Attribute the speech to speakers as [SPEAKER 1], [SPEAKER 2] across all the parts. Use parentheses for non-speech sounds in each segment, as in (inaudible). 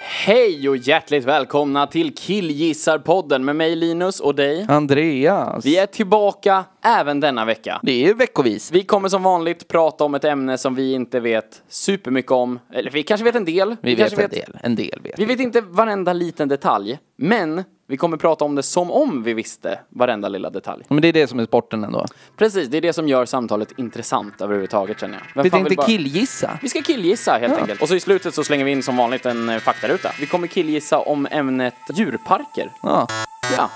[SPEAKER 1] Hej och hjärtligt välkomna till Killgissarpodden med mig Linus och dig.
[SPEAKER 2] Andreas.
[SPEAKER 1] Vi är tillbaka även denna vecka.
[SPEAKER 2] Det är ju veckovis.
[SPEAKER 1] Vi kommer som vanligt prata om ett ämne som vi inte vet supermycket om. Eller vi kanske vet en del. Vi, kanske
[SPEAKER 2] del. En del vet.
[SPEAKER 1] Vi vet inte varenda liten detalj. Men vi kommer prata om det som om vi visste varenda lilla detalj.
[SPEAKER 2] Men det är det som är sporten ändå.
[SPEAKER 1] Precis, det är det som gör samtalet intressant överhuvudtaget känner jag. Vem
[SPEAKER 2] Vi
[SPEAKER 1] fan vill
[SPEAKER 2] tänkte
[SPEAKER 1] bara-
[SPEAKER 2] killgissa.
[SPEAKER 1] Vi ska killgissa helt
[SPEAKER 2] Ja.
[SPEAKER 1] enkelt. Och så i slutet så slänger vi in som vanligt en eh, faktaruta. Vi kommer killgissa om ämnet djurparker.
[SPEAKER 2] Ja.
[SPEAKER 1] Ja.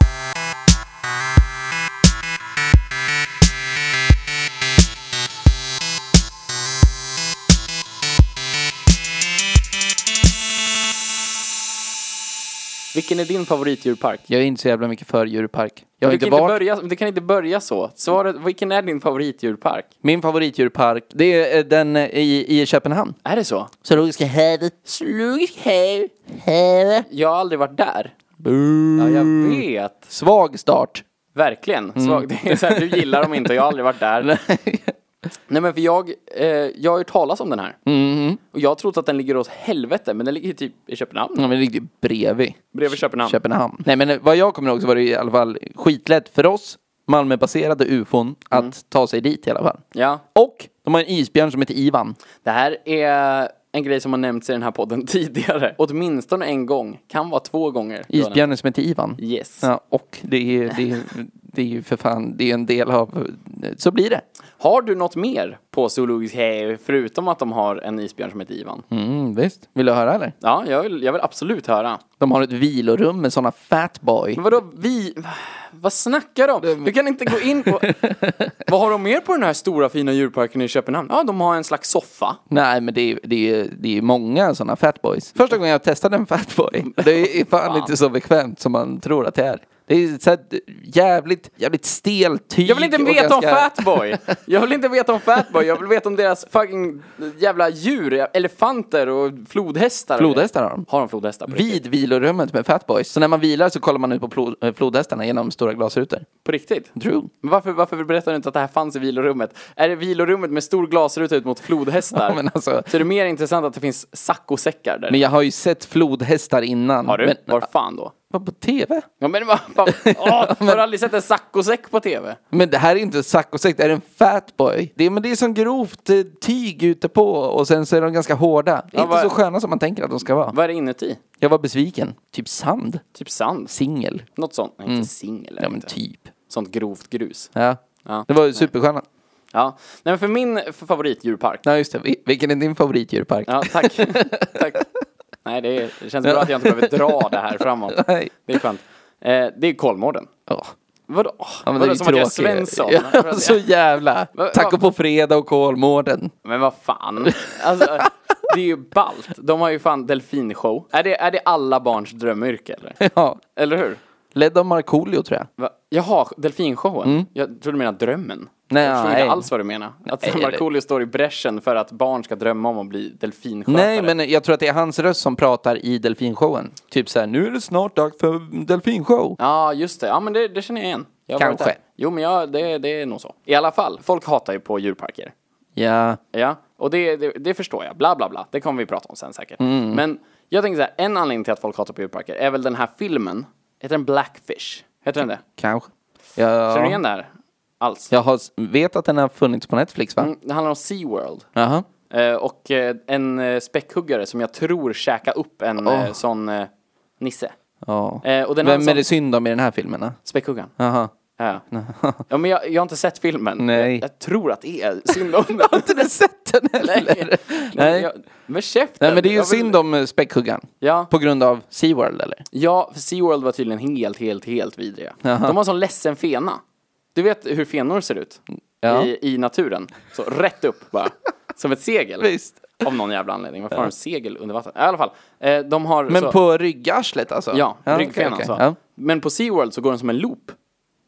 [SPEAKER 1] Vilken är din favoritdjurpark?
[SPEAKER 2] Jag är inte så jävla mycket för djurpark. Jag har
[SPEAKER 1] Du
[SPEAKER 2] inte
[SPEAKER 1] kan inte
[SPEAKER 2] varit...
[SPEAKER 1] börja, du kan inte börja så. Svaret, vilken är din favoritdjurpark?
[SPEAKER 2] Min favoritdjurpark, det är eh, den eh, i, i Köpenhamn.
[SPEAKER 1] Är det så?
[SPEAKER 2] Zoologiska hävet.
[SPEAKER 1] Slug hej.
[SPEAKER 2] Hävet.
[SPEAKER 1] Jag har aldrig varit där. Ja, jag vet. Mm.
[SPEAKER 2] Svag start. (laughs)
[SPEAKER 1] Verkligen. Så, (laughs) det är så här, du gillar dem inte och jag har aldrig varit (laughs) där. Nej men för jag, eh, jag har ju talas om den här.
[SPEAKER 2] Mm-hmm.
[SPEAKER 1] Och jag har trott att den ligger åt helvete, men den ligger ju typ i Köpenhamn.
[SPEAKER 2] Ja, men det ligger ju bredvid
[SPEAKER 1] Bredvid Köpenhamn.
[SPEAKER 2] Köpenhamn. Nej, men eh, vad jag kommer ihåg så var det i alla fall skitlätt för oss Malmöbaserade ufon att
[SPEAKER 1] Mm.
[SPEAKER 2] ta sig dit i alla fall.
[SPEAKER 1] ja.
[SPEAKER 2] Och de har en isbjörn som heter Ivan.
[SPEAKER 1] Det här är en grej som har nämnts i den här podden (laughs) tidigare. Åtminstone en gång. Kan vara två gånger.
[SPEAKER 2] Isbjörnen som heter Ivan.
[SPEAKER 1] Yes.
[SPEAKER 2] Ja, och det är, det, är, det är ju för fan, det är en del av, så blir det.
[SPEAKER 1] Har du något mer på Zoologisk Hej, förutom att de har en isbjörn som heter Ivan?
[SPEAKER 2] Mm, visst. Vill du höra eller?
[SPEAKER 1] Ja, jag vill, jag vill absolut höra.
[SPEAKER 2] De har ett vilorum med sådana fatboy.
[SPEAKER 1] Men vadå, vi... Vad snackar de? Du kan inte gå
[SPEAKER 2] (laughs)
[SPEAKER 1] in på... vad har de mer på den här stora fina djurparken i Köpenhamn? Ja, de har en slags soffa.
[SPEAKER 2] Nej men det är, det är, det är många sådana fatboys. Första gången jag testade en fatboy, (laughs) det är fan inte så bekvämt som man tror att det är. Det är så här, jävligt, jävligt stelt tyg.
[SPEAKER 1] Jag vill inte
[SPEAKER 2] och
[SPEAKER 1] veta om
[SPEAKER 2] ganska- (laughs)
[SPEAKER 1] Fatboy! Jag vill inte veta om Fatboy, jag vill veta om deras fucking jävla djur, elefanter och flodhästar.
[SPEAKER 2] Flodhästar har de.
[SPEAKER 1] Har de flodhästar på riktigt?
[SPEAKER 2] Vid vilorummet med fatboys. Så när man vilar så kollar man ut på flod, eh, flodhästarna genom stora glasrutor.
[SPEAKER 1] På riktigt?
[SPEAKER 2] True.
[SPEAKER 1] Men Varför, varför berättar du inte att det här fanns i vilorummet? Är det vilorummet med stor glasruta ut mot flodhästar?
[SPEAKER 2] (laughs) Ja, men alltså-
[SPEAKER 1] Så är det mer intressant att det finns saccosäckar där.
[SPEAKER 2] Men jag har ju sett flodhästar innan.
[SPEAKER 1] har du?
[SPEAKER 2] Men,
[SPEAKER 1] Var fan då?
[SPEAKER 2] Var på tv?
[SPEAKER 1] Ja men vad
[SPEAKER 2] (laughs)
[SPEAKER 1] fan, Åh, har du aldrig sett en saccosäck på tv?
[SPEAKER 2] Men det här är inte saccosäck, det här är en fatboy. Det, är- men det är som grovt eh, tyg ute på och sen så är de ganska hårda. Det är
[SPEAKER 1] Ja,
[SPEAKER 2] inte
[SPEAKER 1] vad-
[SPEAKER 2] så sköna som man tänker att de ska vara.
[SPEAKER 1] Vad är det inuti?
[SPEAKER 2] Jag var besviken. Typ sand.
[SPEAKER 1] Typ sand?
[SPEAKER 2] Singel.
[SPEAKER 1] Något sånt? Nej, inte
[SPEAKER 2] Mm.
[SPEAKER 1] singel. är
[SPEAKER 2] Ja
[SPEAKER 1] det
[SPEAKER 2] men
[SPEAKER 1] inte.
[SPEAKER 2] typ.
[SPEAKER 1] Sånt grovt grus.
[SPEAKER 2] Ja.
[SPEAKER 1] Ja.
[SPEAKER 2] Det var ju supersköna.
[SPEAKER 1] Ja. Nej men för min f- favoritdjurpark.
[SPEAKER 2] Ja just det. Vil- Vilken är din favoritdjurpark?
[SPEAKER 1] Ja, tack.
[SPEAKER 2] (laughs)
[SPEAKER 1] tack. Nej, det, är, det känns bra att jag inte behöver dra det här framåt.
[SPEAKER 2] (laughs) Nej.
[SPEAKER 1] Det är skönt. Eh, det är Kolmården.
[SPEAKER 2] Åh.
[SPEAKER 1] Vadå?
[SPEAKER 2] Ja, men
[SPEAKER 1] Vadå,
[SPEAKER 2] det är ju
[SPEAKER 1] som att jag är
[SPEAKER 2] tråkigt.
[SPEAKER 1] Svensson?
[SPEAKER 2] Ja, alltså- så jävla.
[SPEAKER 1] Va- va-
[SPEAKER 2] Taco på fredag och Kolmården.
[SPEAKER 1] Men vad fan. Alltså, det är ju ballt. De har ju fan delfinshow. Är det, är det alla barns drömyrke eller?
[SPEAKER 2] (laughs) Ja.
[SPEAKER 1] Eller hur?
[SPEAKER 2] Ledd av Markoolio tror jag.
[SPEAKER 1] Va? Jaha, delfinshowen? Jag trodde du menade drömmen.
[SPEAKER 2] Mm. Nej,
[SPEAKER 1] jag förstår inte
[SPEAKER 2] nej.
[SPEAKER 1] alls vad du menar. Att
[SPEAKER 2] Nej,
[SPEAKER 1] Markoolio står i bräschen för att barn ska drömma om att bli delfinskötare.
[SPEAKER 2] Nej, men jag tror att det är hans röst som pratar i delfinshowen. Typ så här, nu är det snart dags för delfinshow.
[SPEAKER 1] Ja, just det. Ja, men det, det känner jag igen. Jag har varit
[SPEAKER 2] Kanske.
[SPEAKER 1] där. Jo, men jag, det, det är nog så. I alla fall, folk hatar ju på djurparker.
[SPEAKER 2] Ja.
[SPEAKER 1] Ja, och det, det, det förstår jag. Bla, bla, bla. Det kommer vi prata om sen säkert.
[SPEAKER 2] Mm.
[SPEAKER 1] Men jag tänker så här, en anledning till att folk hatar på djurparker är väl den här filmen. Heter den Blackfish? Heter den det?
[SPEAKER 2] Kanske. Ja.
[SPEAKER 1] Känner du igen det här? Alls?
[SPEAKER 2] Jag har s- vet att den har funnits på Netflix va?
[SPEAKER 1] Mm, Det handlar om SeaWorld.
[SPEAKER 2] Jaha.
[SPEAKER 1] Eh, och eh, en eh, späckhuggare som jag tror käkar upp en eh, sån eh, nisse.
[SPEAKER 2] Ja.
[SPEAKER 1] Eh, och den har en
[SPEAKER 2] Vem är
[SPEAKER 1] sån-
[SPEAKER 2] det synd om i den här filmen? då?
[SPEAKER 1] Späckhuggaren.
[SPEAKER 2] Jaha. (laughs)
[SPEAKER 1] Ja. ja, men jag, jag har inte sett filmen.
[SPEAKER 2] Nej.
[SPEAKER 1] Jag, jag tror att det är synd om den.
[SPEAKER 2] Har (laughs) inte du sett den heller?
[SPEAKER 1] Nej.
[SPEAKER 2] Nej.
[SPEAKER 1] Jag, men käften!
[SPEAKER 2] Nej men det är ju
[SPEAKER 1] Jag vill-
[SPEAKER 2] synd om eh, späckhuggaren.
[SPEAKER 1] Ja.
[SPEAKER 2] På grund av SeaWorld eller?
[SPEAKER 1] Ja, för SeaWorld var tydligen helt, helt, helt vidriga. De har sån ledsen fena. Du vet hur fenor ser ut
[SPEAKER 2] Ja.
[SPEAKER 1] i, i naturen. Så rätt upp bara. Som ett
[SPEAKER 2] (laughs)
[SPEAKER 1] segel.
[SPEAKER 2] Visst.
[SPEAKER 1] Av någon jävla anledning. Varför har de segel under vattnet? I alla fall. Eh, de har...
[SPEAKER 2] Men
[SPEAKER 1] så,
[SPEAKER 2] på ryggarslet alltså?
[SPEAKER 1] Ja, alltså.
[SPEAKER 2] okej,
[SPEAKER 1] ryggfenan
[SPEAKER 2] okej.
[SPEAKER 1] så.
[SPEAKER 2] Ja.
[SPEAKER 1] Men på SeaWorld så går den som en loop.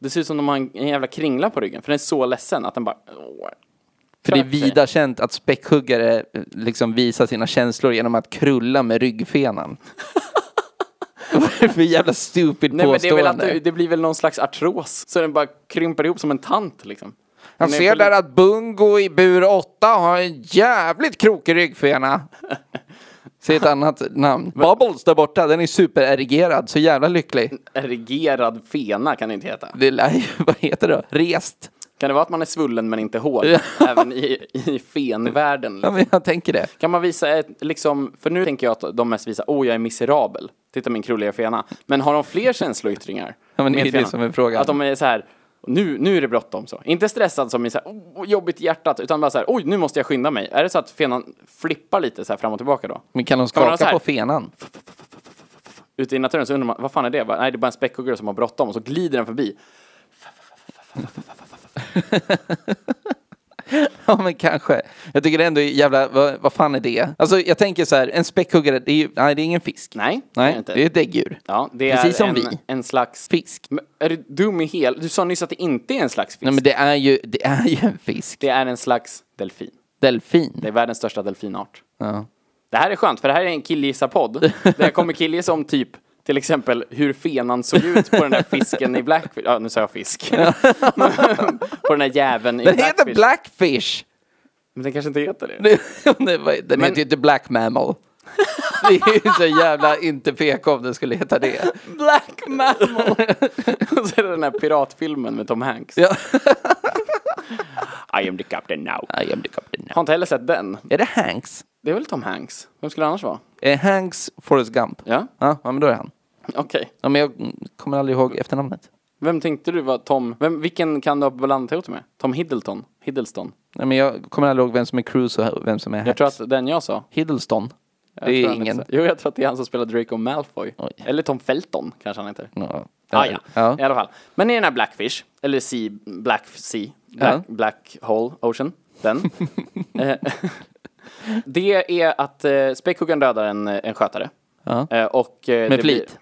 [SPEAKER 1] Det ser ut som de har en, en jävla kringla på ryggen. För den är så ledsen att den bara... åh.
[SPEAKER 2] För det är
[SPEAKER 1] Tack för
[SPEAKER 2] vida känt att späckhuggare eh, liksom visar sina känslor genom att krulla med ryggfenan. (laughs) Vad är det för jävla stupid
[SPEAKER 1] Nej men det, är väl
[SPEAKER 2] påstående?
[SPEAKER 1] att det, det blir väl någon slags artros. Så den bara krymper ihop som en tant liksom.
[SPEAKER 2] Han
[SPEAKER 1] Den är
[SPEAKER 2] ser
[SPEAKER 1] väl-
[SPEAKER 2] där att Bungo i bur 8 har en jävligt krokig
[SPEAKER 1] (laughs)
[SPEAKER 2] ryggfena. Se ett annat namn. Bubbles där borta, den är supererigerad, så jävla lycklig.
[SPEAKER 1] Erigerad fena kan det inte heta.
[SPEAKER 2] Det lär ju, (laughs) vad heter det? Rest.
[SPEAKER 1] Kan det vara att man är svullen men inte hård?
[SPEAKER 2] Ja.
[SPEAKER 1] Även i, i fenvärlden.
[SPEAKER 2] Ja,
[SPEAKER 1] Liksom.
[SPEAKER 2] men jag tänker det.
[SPEAKER 1] Kan man visa ett, liksom, för nu tänker jag att de mest visar, åh jag är miserabel. Titta min krulliga fena. Men har de fler känsloyttringar?
[SPEAKER 2] Ja, men det är
[SPEAKER 1] med
[SPEAKER 2] ju det
[SPEAKER 1] fenan?
[SPEAKER 2] som är frågan.
[SPEAKER 1] Att de är så här, nu, nu är det bråttom så. Inte stressad som i så här, oh, jobbigt i hjärtat, utan bara så här, oj nu måste jag skynda mig. Är det så att fenan flippar lite så här fram och tillbaka då?
[SPEAKER 2] Men kan de
[SPEAKER 1] Kan man ha så
[SPEAKER 2] skaka
[SPEAKER 1] här?
[SPEAKER 2] på fenan? (laughs)
[SPEAKER 1] Ute i naturen så undrar man, vad fan är det? Bara, Nej det är bara en späckhuggare som har bråttom och så glider den förbi.
[SPEAKER 2] Ja men kanske. Jag tycker det ändå är jävla, vad, vad fan är det? Alltså jag tänker så här, en späckhuggare, det är ju, nej det är ingen fisk.
[SPEAKER 1] Nej, det är
[SPEAKER 2] Nej,
[SPEAKER 1] det inte.
[SPEAKER 2] det är ett däggdjur.
[SPEAKER 1] Ja, det
[SPEAKER 2] Precis
[SPEAKER 1] är
[SPEAKER 2] som
[SPEAKER 1] en,
[SPEAKER 2] vi.
[SPEAKER 1] en slags...
[SPEAKER 2] Fisk.
[SPEAKER 1] Men Är du dum i hel... Du sa nyss att det inte är en slags fisk.
[SPEAKER 2] Nej men det är ju, det är ju en fisk.
[SPEAKER 1] Det är en slags delfin.
[SPEAKER 2] Delfin.
[SPEAKER 1] Det är världens största delfinart.
[SPEAKER 2] Ja.
[SPEAKER 1] Det här är skönt, för det här är en killgissa-podd. Där jag kommer killgissa om typ, till exempel, hur fenan såg ut på den där fisken i Blackfish. Ja, nu sa jag fisk. (laughs) på den där jäveln i
[SPEAKER 2] Den
[SPEAKER 1] Blackfish.
[SPEAKER 2] heter Blackfish! (laughs)
[SPEAKER 1] Men den kanske inte heter det.
[SPEAKER 2] Det- det var- Den heter ju inte Black Mammal. (laughs) Det är ju så jävla inte PK om den skulle heta
[SPEAKER 1] (laughs)
[SPEAKER 2] det.
[SPEAKER 1] Black Mammal! (laughs) Och så är det den här piratfilmen med Tom Hanks.
[SPEAKER 2] Ja.
[SPEAKER 1] (laughs) I am the captain now.
[SPEAKER 2] I am the captain now.
[SPEAKER 1] Har inte heller sett den.
[SPEAKER 2] Är det Hanks?
[SPEAKER 1] Det är väl Tom Hanks? Vem skulle det annars vara?
[SPEAKER 2] Är Hanks Forrest Gump?
[SPEAKER 1] Ja,
[SPEAKER 2] Ja, ja men då är han.
[SPEAKER 1] okej.
[SPEAKER 2] Ja, men jag mm, kommer aldrig ihåg efternamnet.
[SPEAKER 1] Vem tänkte du var Tom? Vem, vilken kan du ha blandat ihop med? Tom Hiddleton? Hiddleston?
[SPEAKER 2] Nej, men jag kommer aldrig ihåg vem som är Cruise och vem som är Hanks.
[SPEAKER 1] Jag tror att den jag sa.
[SPEAKER 2] Hiddleston.
[SPEAKER 1] Jag
[SPEAKER 2] det
[SPEAKER 1] tror
[SPEAKER 2] är
[SPEAKER 1] han
[SPEAKER 2] ingen...
[SPEAKER 1] heter så. Jo, jag tror att det är han som spelar Draco Malfoy.
[SPEAKER 2] Oj.
[SPEAKER 1] Eller Tom Felton kanske han heter.
[SPEAKER 2] Ja.
[SPEAKER 1] Ah, ja.
[SPEAKER 2] Ja.
[SPEAKER 1] i alla fall. Men i den här Blackfish, eller sea, Black Sea, Black, Black Hole Ocean,
[SPEAKER 2] (laughs)
[SPEAKER 1] den. eh, (laughs) det är att eh, späckhuggaren dödar en, eh, en skötare.
[SPEAKER 2] Ja.
[SPEAKER 1] Eh, och, eh,
[SPEAKER 2] Med
[SPEAKER 1] det blir-
[SPEAKER 2] flit.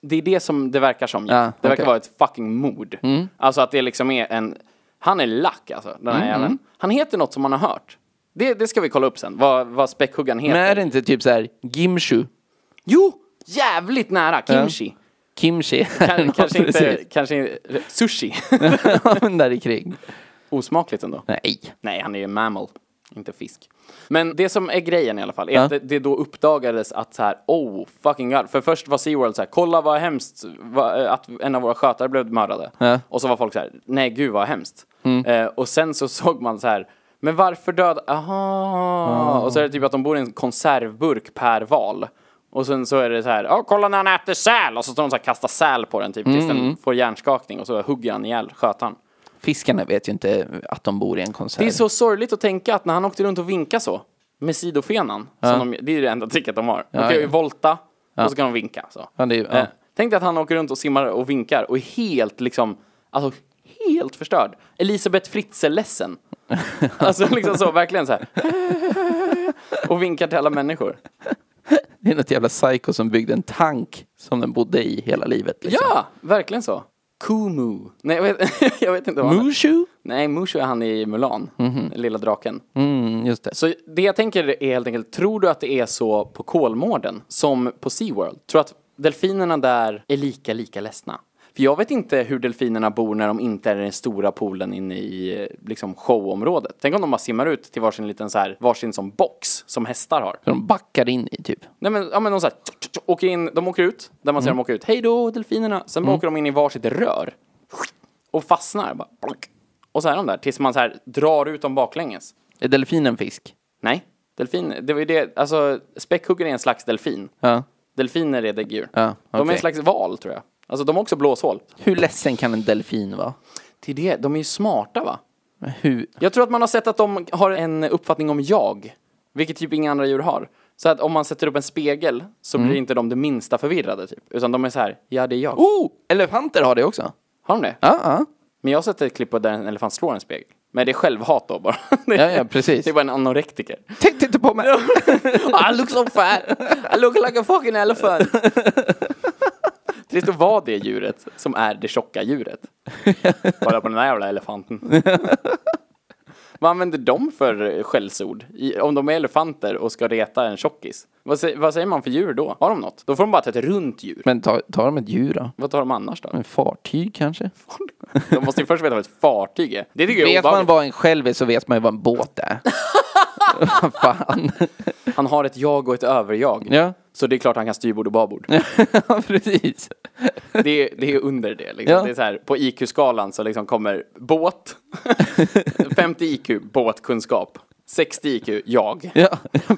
[SPEAKER 1] det är det som det verkar som.
[SPEAKER 2] Ja,
[SPEAKER 1] Ja, det verkar
[SPEAKER 2] okej. Mm.
[SPEAKER 1] vara ett fucking mord. Alltså att det liksom är en... Han är lack alltså, den här
[SPEAKER 2] mm.
[SPEAKER 1] jäveln. Han heter något som man har hört. Det, det ska vi kolla upp sen, vad, vad späckhuggaren heter.
[SPEAKER 2] Men är det inte typ så här Gimshu?
[SPEAKER 1] Jo! Jävligt nära, kimchi.
[SPEAKER 2] Kimchi?
[SPEAKER 1] (laughs) Kan, kanske inte,
[SPEAKER 2] Precis. (laughs)
[SPEAKER 1] kanske sushi.
[SPEAKER 2] Ja, men där i krig.
[SPEAKER 1] Osmakligt ändå.
[SPEAKER 2] Nej.
[SPEAKER 1] Nej, han är ju mammal, inte fisk. Men det som är grejen i alla fall, är att det, det då uppdagades att så här, oh fucking god. För först var SeaWorld så här, kolla vad hemskt va, eh, att en av våra skötare blev mördade.
[SPEAKER 2] Ja.
[SPEAKER 1] Och så var folk så här, nej gud vad hemskt. Eh, och sen så (laughs) såg man så här, men varför död, aha. Och så är det typ att de bor i en konservburk per val. Och sen så är det så här, ja kolla när han äter säl! Och så står de så här, kastar säl på den typ tills den får hjärnskakning och så hugger han ihjäl skötaren.
[SPEAKER 2] Fiskarna vet ju inte att de bor i en konserv.
[SPEAKER 1] Det är så sorgligt att tänka att när han åkte runt och vinkade så, med sidofenan, som de, det är det enda tricket de har. De kan ju
[SPEAKER 2] ja.
[SPEAKER 1] volta och så kan de vinka. Så.
[SPEAKER 2] Ja, det är ju- ja.
[SPEAKER 1] Eh, Tänk dig att han åker runt och simmar och vinkar och är helt liksom, alltså helt förstörd. Elisabeth Fritzl-ledsen.
[SPEAKER 2] (laughs)
[SPEAKER 1] alltså liksom så, verkligen så här. (laughs) och vinkar till alla människor.
[SPEAKER 2] Det är något jävla psyko som byggde en tank som den bodde i hela livet. Liksom.
[SPEAKER 1] Ja, verkligen så. Kumu. Nej, jag vet, (laughs) jag vet inte vad han är.
[SPEAKER 2] Mushu?
[SPEAKER 1] Nej, Mushu är han i Mulan.
[SPEAKER 2] Mhm.
[SPEAKER 1] Lilla draken.
[SPEAKER 2] Mm, just det.
[SPEAKER 1] Så det jag tänker är helt enkelt, tror du att det är så på Kolmården som på SeaWorld? Tror du att delfinerna där är lika, lika ledsna? För jag vet inte hur delfinerna bor när de inte är i den stora poolen inne i eh, liksom showområdet. Tänk om de bara simmar ut till varsin liten så här, varsin som box som hästar har.
[SPEAKER 2] De backar in i typ.
[SPEAKER 1] Nej men, ja men de så här, tsk, tsk, tsk, åker in, de åker ut, där man ser dem åka ut, hej då delfinerna. Sen bara åker de in i varsitt rör. Och fastnar bara. plonk. Och så är de där tills man så här drar ut dem baklänges.
[SPEAKER 2] Är delfinen fisk?
[SPEAKER 1] Nej, delfin, det var ju det, alltså späckhuggare är en slags delfin.
[SPEAKER 2] Ja.
[SPEAKER 1] Delfiner är däggdjur.
[SPEAKER 2] Ja,
[SPEAKER 1] De är
[SPEAKER 2] okej.
[SPEAKER 1] en slags val tror jag. Alltså de har också blåshål.
[SPEAKER 2] Hur ledsen kan en delfin vara?
[SPEAKER 1] Till det, de är ju smarta va?
[SPEAKER 2] Men Hur?
[SPEAKER 1] Jag tror att man har sett att de har en uppfattning om jag, vilket typ inga andra djur har. Så att om man sätter upp en spegel så blir inte de det minsta förvirrade typ. Utan de är så här, ja det är jag.
[SPEAKER 2] Oh! Elefanter har det också. Ah,
[SPEAKER 1] Har de det?
[SPEAKER 2] Ja, ja.
[SPEAKER 1] Men jag har sett ett klipp på där en elefant slår en spegel. Men det är självhat då bara. Det är,
[SPEAKER 2] Ja, ja, precis.
[SPEAKER 1] (laughs) Det är bara en anorektiker.
[SPEAKER 2] Tänk inte på mig!
[SPEAKER 1] (laughs) I Ah, look so fat! I look like a fucking elephant! Trist att vara det djuret som är det
[SPEAKER 2] (laughs)
[SPEAKER 1] tjocka djuret. Kolla på den där jävla elefanten. Vad använder de för skällsord? I- Om de är elefanter och ska reta en tjockis. Vad, sä- vad säger man för djur då? Har de något? Då får de bara ta ett runt djur.
[SPEAKER 2] Men ta, ta dem ett djur då?
[SPEAKER 1] Vad tar de annars då?
[SPEAKER 2] En fartyg kanske?
[SPEAKER 1] De måste ju först veta vad ett fartyg är. Det tycker jag är
[SPEAKER 2] Vet man
[SPEAKER 1] obehagligt.
[SPEAKER 2] vad en själv är så vet man ju vad en båt
[SPEAKER 1] (laughs)
[SPEAKER 2] är. Vad Fan.
[SPEAKER 1] Han har ett jag och ett överjag.
[SPEAKER 2] Ja.
[SPEAKER 1] Så det är klart han kan styrbord och babord.
[SPEAKER 2] Ja, precis.
[SPEAKER 1] Det är, det är under det. Liksom.
[SPEAKER 2] Ja.
[SPEAKER 1] det är så här, på IQ-skalan så liksom kommer båt,
[SPEAKER 2] (laughs)
[SPEAKER 1] 50 IQ, båtkunskap, 60 IQ, jag.
[SPEAKER 2] Ja,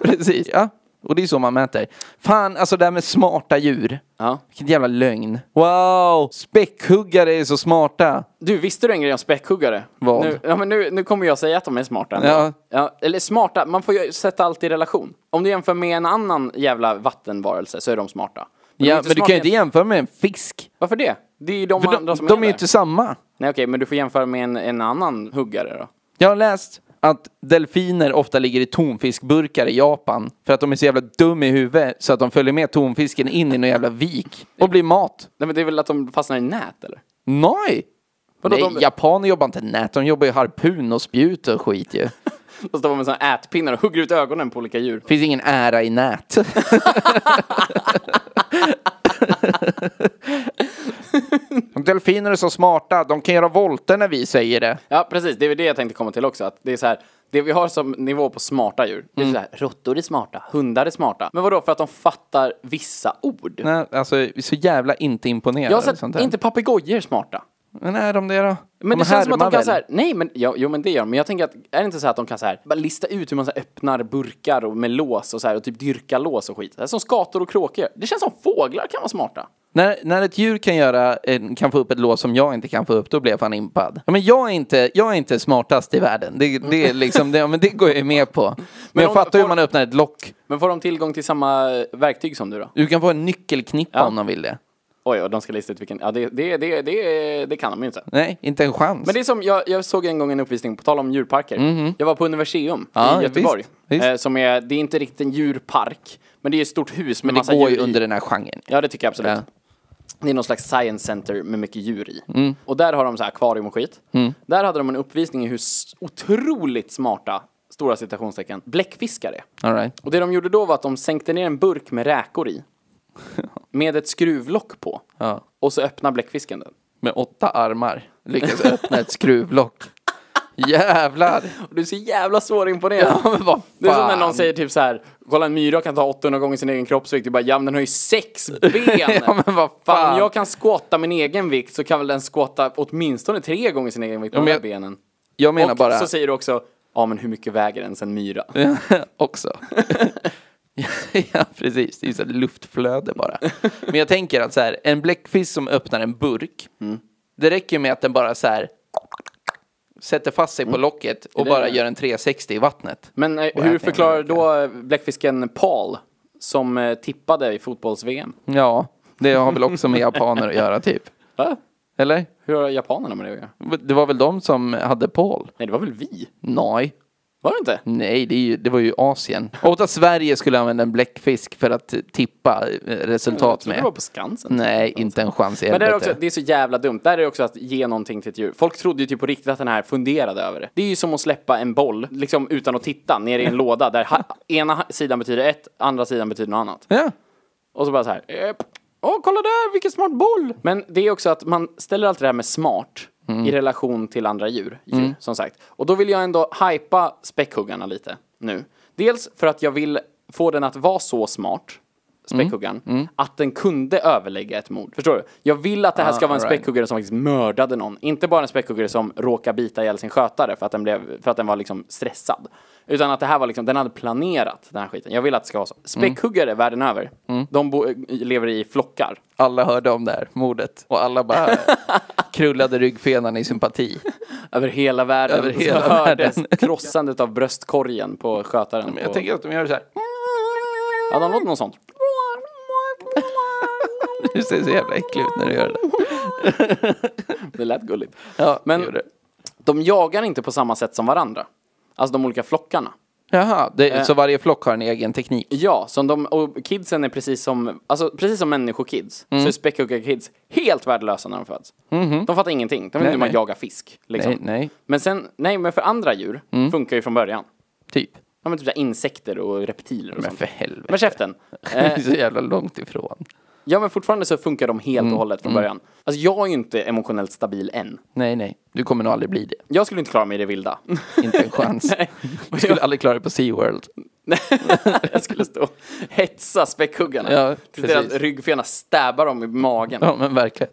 [SPEAKER 2] precis. Ja. Och det är så man mäter. Fan, alltså det här med smarta djur.
[SPEAKER 1] Ja.
[SPEAKER 2] Vilken jävla lögn. Wow! Späckhuggare är så smarta.
[SPEAKER 1] Du, visste du en grej om späckhuggare?
[SPEAKER 2] Vad?
[SPEAKER 1] Nu, ja, men nu, nu kommer jag säga att de är smarta. ändå.
[SPEAKER 2] Ja.
[SPEAKER 1] Ja, eller smarta, man får ju sätta allt i relation. Om du jämför med en annan jävla vattenvarelse så är de smarta. de är
[SPEAKER 2] Ja,
[SPEAKER 1] inte
[SPEAKER 2] men du
[SPEAKER 1] smarta
[SPEAKER 2] kan ju inte
[SPEAKER 1] jäm-
[SPEAKER 2] jämföra med en fisk.
[SPEAKER 1] Varför det? Det är ju de
[SPEAKER 2] För
[SPEAKER 1] andra
[SPEAKER 2] de,
[SPEAKER 1] som
[SPEAKER 2] de är ju
[SPEAKER 1] där.
[SPEAKER 2] inte samma.
[SPEAKER 1] Nej okej, men du får jämföra med en, en annan huggare då.
[SPEAKER 2] Jag har läst att delfiner ofta ligger i tonfiskburkar i Japan för att de är så jävla dum i huvudet så att de följer med tonfisken in i någon jävla vik och blir mat.
[SPEAKER 1] Nej men det är väl att de fastnar i nät eller?
[SPEAKER 2] Nej!
[SPEAKER 1] Vadå,
[SPEAKER 2] Nej,
[SPEAKER 1] de-
[SPEAKER 2] japaner jobbar inte nät, de jobbar ju harpun och spjut och skit
[SPEAKER 1] (laughs)
[SPEAKER 2] ju.
[SPEAKER 1] Och står man med sådana ätpinnar och hugger ut ögonen på olika djur.
[SPEAKER 2] Finns ingen ära i
[SPEAKER 1] (laughs)
[SPEAKER 2] nät. Delfiner är så smarta, de kan göra volter när vi säger det.
[SPEAKER 1] Ja, precis. Det är väl det jag tänkte komma till också. Att det är så här, det vi har som nivå på smarta djur, det är
[SPEAKER 2] Mm.
[SPEAKER 1] så här, råttor är smarta, hundar är smarta. Men vadå, för att de fattar vissa ord?
[SPEAKER 2] Nej, alltså, vi är så jävla inte imponerad.
[SPEAKER 1] jag har
[SPEAKER 2] av sånt
[SPEAKER 1] sett,
[SPEAKER 2] här.
[SPEAKER 1] inte papegojor är smarta.
[SPEAKER 2] Men är de det då?
[SPEAKER 1] Men
[SPEAKER 2] de
[SPEAKER 1] det känns som att de
[SPEAKER 2] härmar
[SPEAKER 1] kan
[SPEAKER 2] väl?
[SPEAKER 1] så här, nej men, ja, jo men det gör de. Men jag tänker att, är det inte så här att de kan så här, bara lista ut hur man så här, öppnar burkar och med lås och så här, och typ dyrka lås och skit. Det är som skator och kråkor. Det känns som fåglar kan vara smarta.
[SPEAKER 2] När, när ett djur kan, göra, en- kan få upp ett lås som jag inte kan få upp, då blir jag fan impad. Ja, men jag, är inte, jag är inte smartast i världen, det, det, är liksom, det, ja, men det går jag ju med på. Men, jag
[SPEAKER 1] om-
[SPEAKER 2] fattar hur
[SPEAKER 1] får-
[SPEAKER 2] man öppnar ett lock.
[SPEAKER 1] Men får de tillgång till samma verktyg som du då?
[SPEAKER 2] Du kan få en nyckelknippa
[SPEAKER 1] Ja.
[SPEAKER 2] om de vill det.
[SPEAKER 1] Oj, och de ska lista ut vilken, ja det, det, det, det, det kan de ju inte.
[SPEAKER 2] Nej, inte en chans.
[SPEAKER 1] Men det är som, jag, jag såg en gång en uppvisning, på tal om djurparker. Jag var på Universium
[SPEAKER 2] Mhm. Ja,
[SPEAKER 1] i Göteborg.
[SPEAKER 2] visst, visst.
[SPEAKER 1] Eh, som är, det är inte riktigt en djurpark, men det är ett stort hus med
[SPEAKER 2] Men
[SPEAKER 1] massa
[SPEAKER 2] det går
[SPEAKER 1] djur
[SPEAKER 2] ju
[SPEAKER 1] i.
[SPEAKER 2] under den här genren.
[SPEAKER 1] Ja, det tycker jag absolut.
[SPEAKER 2] Ja.
[SPEAKER 1] Det är någon slags science center med mycket djur i.
[SPEAKER 2] Mm.
[SPEAKER 1] Och där har de så här akvarium och skit. Där hade de en uppvisning i hur s- otroligt smarta, stora citationstecken, bläckfiskar är.
[SPEAKER 2] All right.
[SPEAKER 1] Och det de gjorde då var att de sänkte ner en burk med
[SPEAKER 2] (laughs)
[SPEAKER 1] räkor i. Med ett skruvlock på.
[SPEAKER 2] Ja.
[SPEAKER 1] Och så öppnar bläckfisken den.
[SPEAKER 2] Med åtta armar lyckas öppna ett skruvlock. Jävlar!
[SPEAKER 1] Och du är så jävla svårimponerad.
[SPEAKER 2] Ja, men vad
[SPEAKER 1] Det är som när
[SPEAKER 2] fan.
[SPEAKER 1] någon säger typ så här, kolla en myra kan ta 800 gånger sin egen kroppsvikt. Du bara, ja men den har
[SPEAKER 2] (laughs)
[SPEAKER 1] ju sex ben.
[SPEAKER 2] Ja, men vad
[SPEAKER 1] Fan,
[SPEAKER 2] fan.
[SPEAKER 1] om jag kan skotta min egen vikt så kan väl den skotta åtminstone tre gånger sin egen vikt på
[SPEAKER 2] men
[SPEAKER 1] de här
[SPEAKER 2] jag-
[SPEAKER 1] benen.
[SPEAKER 2] Jag menar
[SPEAKER 1] Och
[SPEAKER 2] bara...
[SPEAKER 1] så säger du också, ja men hur mycket väger ens en myra?
[SPEAKER 2] (laughs) också. ja, precis. Det är ju så här luftflöde bara. Men jag tänker att så här, en bläckfisk som öppnar en burk, det räcker ju med att den bara så här sätter fast sig på locket och
[SPEAKER 1] det
[SPEAKER 2] bara
[SPEAKER 1] det?
[SPEAKER 2] gör en 360 i vattnet.
[SPEAKER 1] Men eh,
[SPEAKER 2] äter
[SPEAKER 1] hur
[SPEAKER 2] en
[SPEAKER 1] förklarar då eh, bläckfisken Paul, som eh, tippade i fotbolls-VM?
[SPEAKER 2] Ja, det har väl också (laughs) med japaner att göra typ.
[SPEAKER 1] Va?
[SPEAKER 2] Eller?
[SPEAKER 1] Hur har japanerna med det att göra?
[SPEAKER 2] Det var väl de som hade Paul?
[SPEAKER 1] Nej, det var väl vi?
[SPEAKER 2] Nej.
[SPEAKER 1] Var det inte?
[SPEAKER 2] Nej, det, är ju, det var ju Asien. Och att Sverige skulle använda en bläckfisk för att tippa eh,
[SPEAKER 1] Jag
[SPEAKER 2] resultat
[SPEAKER 1] trodde det var
[SPEAKER 2] med.
[SPEAKER 1] på Skansen.
[SPEAKER 2] Nej, inte en chans i
[SPEAKER 1] Men det är,
[SPEAKER 2] helvete.
[SPEAKER 1] också, det är så jävla dumt. Där är det också att ge någonting till ett djur. Folk trodde ju typ på riktigt att den här funderade över det. Det är ju som att släppa en boll, liksom utan att titta, ner i en låda där ha- ena ha- sidan betyder ett, andra sidan betyder något annat.
[SPEAKER 2] Ja.
[SPEAKER 1] Och så bara så här. eh, Åh, kolla där, vilken smart boll! Men det är också att man ställer allt det här med smart i relation till andra djur, djur som sagt. Och då vill jag ändå hypa späckhuggarna lite nu. Dels för att jag vill få den att vara så smart, späckhuggaren, att den kunde överlägga ett mord. Förstår du? Jag vill att det här ska vara en
[SPEAKER 2] alright.
[SPEAKER 1] späckhuggare som faktiskt mördade någon. Inte bara en späckhuggare som råkade bita ihjäl sin skötare för att den, blev, för att den var liksom stressad. Utan att det här var liksom, den hade planerat den här skiten. Jag vill att det ska vara så. Späckhuggare världen över, de bo, lever i flockar.
[SPEAKER 2] Alla hörde om det här mordet och alla
[SPEAKER 1] (laughs)
[SPEAKER 2] bara krullade ryggfenan i sympati.
[SPEAKER 1] Över hela världen.
[SPEAKER 2] Över
[SPEAKER 1] Så
[SPEAKER 2] hela
[SPEAKER 1] hördes
[SPEAKER 2] världen.
[SPEAKER 1] krossandet av bröstkorgen på skötaren.
[SPEAKER 2] Men jag
[SPEAKER 1] på,
[SPEAKER 2] tänker att de gör så här.
[SPEAKER 1] Ja,
[SPEAKER 2] (laughs)
[SPEAKER 1] de låter något sånt.
[SPEAKER 2] Du ser så jävla äcklig ut när du gör det.
[SPEAKER 1] Det lät gulligt.
[SPEAKER 2] Ja,
[SPEAKER 1] Men
[SPEAKER 2] det gör det.
[SPEAKER 1] De jagar inte på samma sätt som varandra. Alltså de olika flockarna.
[SPEAKER 2] Jaha, det,
[SPEAKER 1] Eh.
[SPEAKER 2] så varje flock har en egen teknik?
[SPEAKER 1] Ja, som de, och kidsen är precis som, alltså, precis som människokids,
[SPEAKER 2] Mm.
[SPEAKER 1] så är späckhuggarkids helt värdelösa när de föds. De fattar ingenting, de vet inte hur man
[SPEAKER 2] Mhm. nej.
[SPEAKER 1] jagar fisk. Liksom.
[SPEAKER 2] Nej, Mm. nej,
[SPEAKER 1] Men sen, nej men för andra djur funkar ju från början.
[SPEAKER 2] typ.
[SPEAKER 1] Ja men typ så här insekter och reptiler och
[SPEAKER 2] Men
[SPEAKER 1] sånt.
[SPEAKER 2] för helvete.
[SPEAKER 1] Men käften! Eh,
[SPEAKER 2] så jävla långt ifrån.
[SPEAKER 1] ja men fortfarande så funkar de helt
[SPEAKER 2] Mm,
[SPEAKER 1] och hållet från början. Alltså jag är ju inte emotionellt stabil än.
[SPEAKER 2] Nej, nej. Du kommer nog aldrig bli det.
[SPEAKER 1] Jag skulle inte klara mig i det vilda.
[SPEAKER 2] (laughs) Inte en chans.
[SPEAKER 1] (laughs) Nej.
[SPEAKER 2] Du skulle aldrig klara det på SeaWorld.
[SPEAKER 1] jag skulle stå och hetsa späckhuggarna.
[SPEAKER 2] Ja,
[SPEAKER 1] tills deras
[SPEAKER 2] precis.
[SPEAKER 1] ryggfena stäbar dem i magen.
[SPEAKER 2] Ja, men verkligen.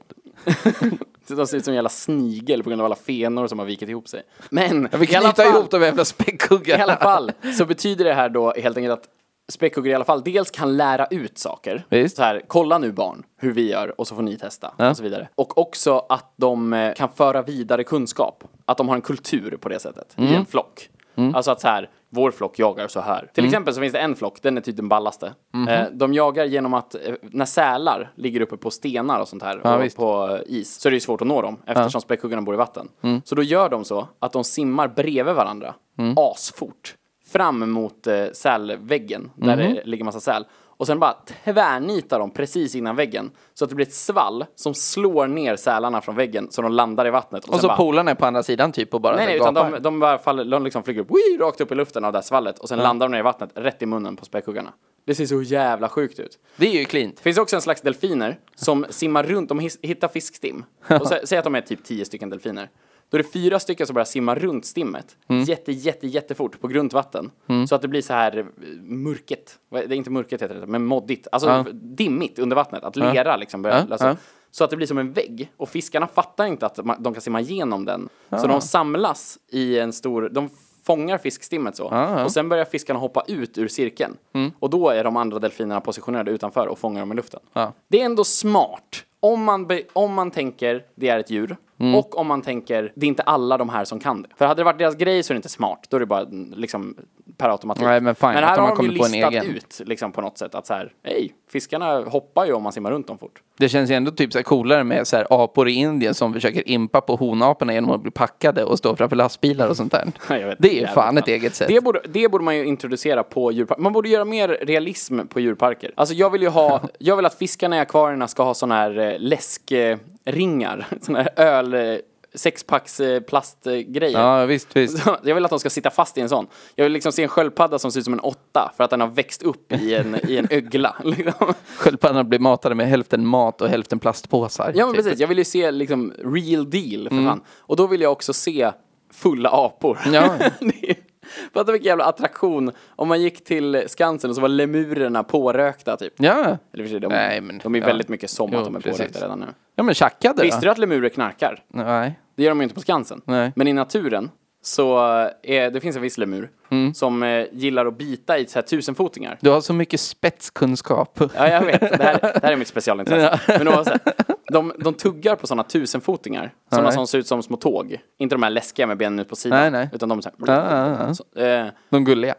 [SPEAKER 1] Så De ser ut som en jävla snigel på grund av alla fenor som har vikit ihop sig. Men
[SPEAKER 2] Vi kan knyta ihop de jävla späckhuggarna.
[SPEAKER 1] (laughs) I alla fall så betyder det här då helt enkelt att späckhuggare i alla fall dels kan lära ut saker.
[SPEAKER 2] Visst.
[SPEAKER 1] Så här, kolla nu barn hur vi gör och så får ni testa och så vidare. Och också att de eh, kan föra vidare kunskap. Att de har en kultur på det sättet
[SPEAKER 2] Mm.
[SPEAKER 1] i en flock. Alltså att så här, vår flock jagar så här.
[SPEAKER 2] Mm.
[SPEAKER 1] Till exempel så finns det en flock, den är typ den ballaste.
[SPEAKER 2] Mhm.
[SPEAKER 1] Eh, De jagar genom att, eh, när sälar ligger uppe på stenar och sånt här och
[SPEAKER 2] visst.
[SPEAKER 1] på is, så är det ju svårt att nå dem eftersom späckhuggarna bor i vatten.
[SPEAKER 2] Mm.
[SPEAKER 1] Så då gör de så att de simmar bredvid varandra, asfort, fram mot eh, sälväggen där
[SPEAKER 2] Mhm.
[SPEAKER 1] det ligger massa säl. Och sen bara tvärnitar de precis innan väggen så att det blir ett svall som slår ner sälarna från väggen så de landar i vattnet.
[SPEAKER 2] Och
[SPEAKER 1] sen
[SPEAKER 2] så
[SPEAKER 1] bara,
[SPEAKER 2] polarna är på andra sidan typ och bara
[SPEAKER 1] Nej, nej,
[SPEAKER 2] så
[SPEAKER 1] utan
[SPEAKER 2] gapar.
[SPEAKER 1] de, de, bara faller, de liksom flyger upp, wii, rakt upp i luften av det här svallet och sen landar de ner i vattnet rätt i munnen på späckhuggarna. Det ser så jävla sjukt ut.
[SPEAKER 2] Det är ju klint.
[SPEAKER 1] Det finns också en slags delfiner som simmar runt, de his- hittar fiskstim. Och sä, säg att de är typ tio stycken delfiner. Då är det fyra stycken som börjar simma runt stimmet.
[SPEAKER 2] Mm.
[SPEAKER 1] Jätte, jätte, jättefort på grunt vatten. Så att det blir så här eh, murket. Vad- Det är inte murket heter det, men moddigt. Alltså dimmigt under vattnet. Att lera liksom börjar
[SPEAKER 2] Ja,
[SPEAKER 1] lösa.
[SPEAKER 2] ja.
[SPEAKER 1] Så att det blir som en vägg. Och fiskarna fattar inte att ma- de kan simma igenom den.
[SPEAKER 2] Ah.
[SPEAKER 1] Så de samlas i en stor, de fångar fiskstimmet så.
[SPEAKER 2] Ah,
[SPEAKER 1] Och sen börjar fiskarna hoppa ut ur cirkeln.
[SPEAKER 2] Mm.
[SPEAKER 1] Och då är de andra delfinerna positionerade utanför och fångar dem i luften.
[SPEAKER 2] Ja.
[SPEAKER 1] Det är ändå smart. Om man, be- om man tänker det är ett djur
[SPEAKER 2] Mm.
[SPEAKER 1] och om man tänker det är inte alla de här som kan det. För hade det varit deras grej så är det inte smart. Då är det bara mm, liksom per automatik.
[SPEAKER 2] Nej, men fine,
[SPEAKER 1] men
[SPEAKER 2] att
[SPEAKER 1] här
[SPEAKER 2] de har
[SPEAKER 1] har de ju
[SPEAKER 2] kommit på en
[SPEAKER 1] listat
[SPEAKER 2] egen.
[SPEAKER 1] ut liksom, på något sätt att så här, hej, fiskarna hoppar ju om man simmar runt dem fort.
[SPEAKER 2] Det känns ju ändå typ så här coolare med så här apor i Indien som försöker impa på honaporna genom att bli packade och stå framför lastbilar och sånt där.
[SPEAKER 1] Ja, (laughs) jag vet.
[SPEAKER 2] det är ju
[SPEAKER 1] Jävligt
[SPEAKER 2] fan ett
[SPEAKER 1] knappt.
[SPEAKER 2] eget sätt.
[SPEAKER 1] Det borde, det borde man ju introducera på djurparker. Man borde göra mer realism på djurparker. Alltså jag vill ju ha,
[SPEAKER 2] (laughs)
[SPEAKER 1] jag vill att fiskarna i akvarierna ska ha såna här eh, läskringar. (laughs) Såna här öl, eh, sexpacks eh, plastgrejer.
[SPEAKER 2] Ja, visst, visst.
[SPEAKER 1] Så Jag vill att de ska sitta fast i en sån. Jag vill liksom se en sköldpadda som ser ut som en åtta för att den har växt upp i en, i en ögla. (laughs) Liksom.
[SPEAKER 2] Sköldpaddorna blir matade med hälften mat och hälften plastpåsar.
[SPEAKER 1] Ja men
[SPEAKER 2] typ. Mm.
[SPEAKER 1] precis, jag vill ju se liksom real deal för fan. Och då vill jag också se fulla apor.
[SPEAKER 2] Ja.
[SPEAKER 1] (laughs) Det är- Fatta vilken jävla attraktion om man gick till Skansen och så var lemurerna pårökta typ.
[SPEAKER 2] Ja.
[SPEAKER 1] Eller för sig, de,
[SPEAKER 2] Nej, men-
[SPEAKER 1] de är
[SPEAKER 2] ja.
[SPEAKER 1] väldigt mycket som
[SPEAKER 2] Jo,
[SPEAKER 1] att de är
[SPEAKER 2] precis.
[SPEAKER 1] pårökta redan nu.
[SPEAKER 2] ja, men tjackade
[SPEAKER 1] Visste
[SPEAKER 2] då?
[SPEAKER 1] du att lemurer knarkar?
[SPEAKER 2] Nej.
[SPEAKER 1] Det gör de ju inte på Skansen.
[SPEAKER 2] Nej.
[SPEAKER 1] Men i naturen så eh, är, det finns en viss lemur
[SPEAKER 2] Mm.
[SPEAKER 1] som eh, gillar att bita i så här tusenfotingar.
[SPEAKER 2] Du har så mycket spetskunskap.
[SPEAKER 1] Ja, jag vet. Det här, det här är mitt specialintresse. Men de, så här, de, de tuggar på sådana tusenfotingar. Sådana
[SPEAKER 2] Nej.
[SPEAKER 1] som ser ut som små tåg. Inte de här läskiga med benen ut på sidan.
[SPEAKER 2] Nej, nej.
[SPEAKER 1] Utan de är så här,
[SPEAKER 2] Ja, ja, ja.
[SPEAKER 1] så, eh,
[SPEAKER 2] De gulliga.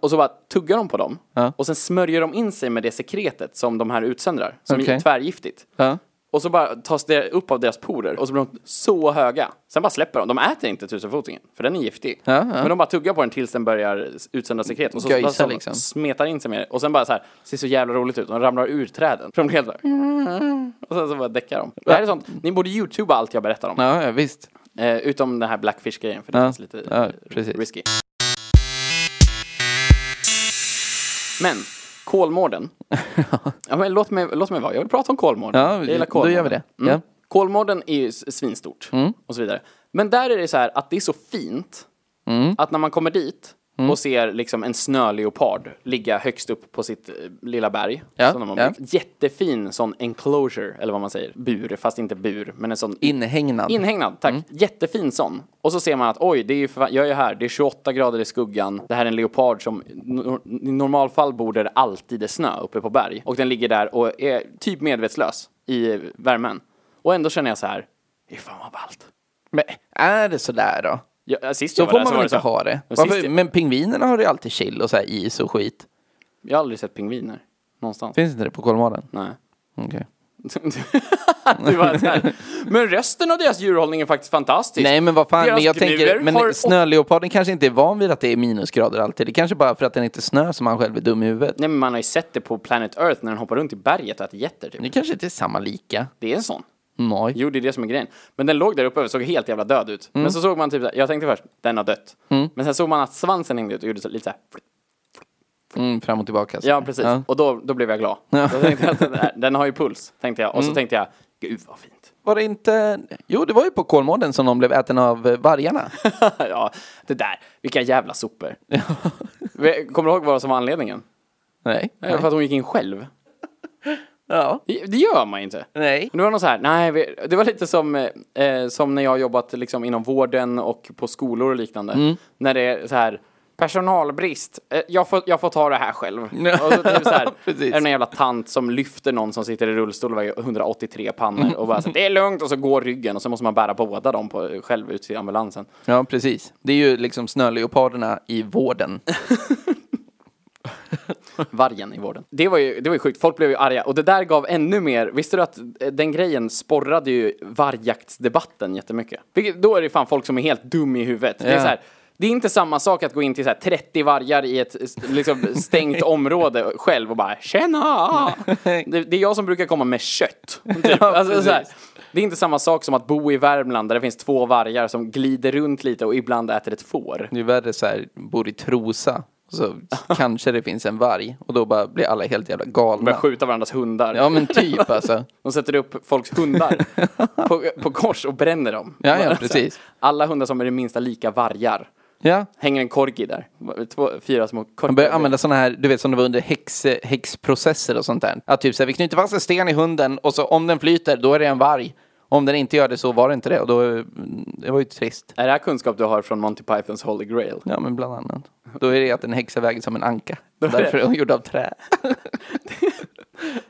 [SPEAKER 1] Och så bara tuggar de på dem.
[SPEAKER 2] Ja.
[SPEAKER 1] Och sen smörjer de in sig med det sekretet som de här utsöndrar. Som är
[SPEAKER 2] Okej.
[SPEAKER 1] tvärgiftigt.
[SPEAKER 2] Ja.
[SPEAKER 1] Och så bara tas det upp av deras porer och så blir de så höga. Sen bara släpper de. De äter inte tusenfotingen, för den är giftig.
[SPEAKER 2] Ja, ja.
[SPEAKER 1] Men de bara tuggar på den tills den börjar utsända sekret. Och så
[SPEAKER 2] Göjsa,
[SPEAKER 1] bara så de
[SPEAKER 2] liksom.
[SPEAKER 1] smetar in sig med det. Och sen bara så här, ser så jävla roligt ut. De ramlar ur träden. För de blir
[SPEAKER 2] (laughs)
[SPEAKER 1] helt bara... Och sen så bara däckar de. Det här är sånt, ni borde youtuba allt jag berättar om.
[SPEAKER 2] Ja, ja, visst.
[SPEAKER 1] Eh, utom den här blackfish-grejen, för det
[SPEAKER 2] Ja,
[SPEAKER 1] känns lite
[SPEAKER 2] ja,
[SPEAKER 1] eh,
[SPEAKER 2] precis.
[SPEAKER 1] risky. Men,
[SPEAKER 2] (laughs)
[SPEAKER 1] Kolmården. ja, men låt, mig, låt mig vara, jag vill prata om Kolmården.
[SPEAKER 2] Ja,
[SPEAKER 1] jag
[SPEAKER 2] då gör vi det.
[SPEAKER 1] Mm.
[SPEAKER 2] Ja. Mm.
[SPEAKER 1] Kolmården är ju s- svinstort och så vidare. Men där är det så här att det är så fint
[SPEAKER 2] Mm.
[SPEAKER 1] att när man kommer dit och ser liksom en snöleopard ligga högst upp på sitt eh, lilla berg.
[SPEAKER 2] Ja,
[SPEAKER 1] som de har
[SPEAKER 2] ja.
[SPEAKER 1] byggt. Jättefin sån enclosure, eller vad man säger, bur, fast inte bur, men en sån
[SPEAKER 2] Inhägnad.
[SPEAKER 1] Inhägnad, tack.
[SPEAKER 2] Mm.
[SPEAKER 1] Jättefin sån. Och så ser man att oj, det är ju för, jag är ju här, det är 28 grader i skuggan. Det här är en leopard som no- i normalfall bor där det alltid är snö uppe på berg. Och den ligger där och är typ medvetslös i värmen. Och ändå känner jag så här, det är fan vad ballt.
[SPEAKER 2] Men är det sådär då?
[SPEAKER 1] Jag, sist
[SPEAKER 2] Då
[SPEAKER 1] jag var
[SPEAKER 2] får
[SPEAKER 1] där
[SPEAKER 2] man
[SPEAKER 1] så alltså var
[SPEAKER 2] väl inte ha
[SPEAKER 1] så.
[SPEAKER 2] det?
[SPEAKER 1] Och
[SPEAKER 2] Varför?
[SPEAKER 1] sist-
[SPEAKER 2] Men pingvinerna har ju alltid chill och så här is och skit.
[SPEAKER 1] Jag har aldrig sett pingviner någonstans.
[SPEAKER 2] Finns inte det på Kolmården?
[SPEAKER 1] Nej. (laughs)
[SPEAKER 2] Okej.
[SPEAKER 1] Du var så här. Men resten av deras djurhållning är faktiskt fantastisk.
[SPEAKER 2] Nej men vad fan,
[SPEAKER 1] Deras
[SPEAKER 2] men jag tänker,
[SPEAKER 1] gnuer
[SPEAKER 2] men
[SPEAKER 1] har-
[SPEAKER 2] snöleoparden kanske inte är van vid att det är minusgrader alltid. Det kanske bara för att den inte är snö som han själv är dum i huvudet.
[SPEAKER 1] Nej men man har ju sett det på Planet Earth när den hoppar runt i berget och äter getter typ.
[SPEAKER 2] Det kanske inte är samma lika.
[SPEAKER 1] Det är en sån.
[SPEAKER 2] Nej.
[SPEAKER 1] Jo, det är det som är grejen. Men den låg där uppe och såg helt jävla död ut. Men så såg man typ, så här- jag tänkte först, den har dött. Men sen såg man att svansen hängde ut och gjorde så, lite så här.
[SPEAKER 2] Mm, fram och tillbaka. så
[SPEAKER 1] Ja,
[SPEAKER 2] där.
[SPEAKER 1] precis. Och då, då blev jag glad.
[SPEAKER 2] Ja.
[SPEAKER 1] Då tänkte jag att den, här, den har ju puls, tänkte jag. Och så tänkte jag, gud vad fint. (laughs)
[SPEAKER 2] Var det inte... Jo, det var ju på Kolmården som de blev äten av eh, vargarna.
[SPEAKER 1] (laughs) ja, det där, vilka jävla sopor. Kommer du ihåg vad som var anledningen?
[SPEAKER 2] Nej.
[SPEAKER 1] Nej. För att hon gick in själv.
[SPEAKER 2] Ja.
[SPEAKER 1] Det det gör man ju inte.
[SPEAKER 2] Nej.
[SPEAKER 1] Men Det var någon så här, nej, vi- det var lite som, eh, eh, som när jag har jobbat liksom inom vården och på skolor och liknande. När det är så här, personalbrist, eh, jag får, jag får ta det här själv. Och så typ så här,
[SPEAKER 2] Precis.
[SPEAKER 1] är det någon jävla tant som lyfter någon som sitter i rullstol och väger 183 pannor och bara så här, det är lugnt och så går ryggen och så måste man bära båda dem på, själv ut till ambulansen.
[SPEAKER 2] Ja, precis. Det är ju liksom snöleoparderna i vården.
[SPEAKER 1] Vargen i vården. Det var ju, det var ju sjukt, folk blev ju arga. Och det där gav ännu mer, visste du att eh, den grejen sporrade ju vargjaktsdebatten jättemycket? Vilket, då är det fan folk som är helt dum i huvudet. Det är
[SPEAKER 2] Ja.
[SPEAKER 1] så här, det är inte samma sak att gå in till så här 30 vargar i ett eh, s- liksom,
[SPEAKER 2] (laughs)
[SPEAKER 1] stängt område själv och bara “tjena!” det, det är jag som brukar komma med kött. Typ.
[SPEAKER 2] Ja,
[SPEAKER 1] alltså, så här,
[SPEAKER 2] precis.
[SPEAKER 1] det är inte samma sak som att bo i Värmland där det finns två vargar som glider runt lite och ibland äter ett får.
[SPEAKER 2] Det är värre så här, bor i Trosa. Så kanske det finns en varg. Och då bara blir alla helt jävla galna.
[SPEAKER 1] Börjar skjuta varandras hundar.
[SPEAKER 2] Ja, men typ alltså.
[SPEAKER 1] De sätter upp
[SPEAKER 2] (laughs)
[SPEAKER 1] folks hundar på, på kors och bränner dem.
[SPEAKER 2] Ja, ja, precis.
[SPEAKER 1] Alla hundar som är det minsta lika vargar.
[SPEAKER 2] Ja.
[SPEAKER 1] Hänger en korgi där. Två, fyra små
[SPEAKER 2] Man
[SPEAKER 1] korgar.
[SPEAKER 2] börjar använda sådana här, du vet som det var under häx, häxprocesser och sånt där. Att typ så här, vi knyter fast en sten i hunden och så om den flyter, då är det en varg. Om den inte gör det så var det inte det. Och då, mm, det var ju trist.
[SPEAKER 1] Är det här kunskap du har från Monty Pythons Holy Grail?
[SPEAKER 2] Ja, men bland annat. Då är det att en häxa väger som en
[SPEAKER 1] (laughs)
[SPEAKER 2] anka.
[SPEAKER 1] är det.
[SPEAKER 2] Därför är hon gjord av trä.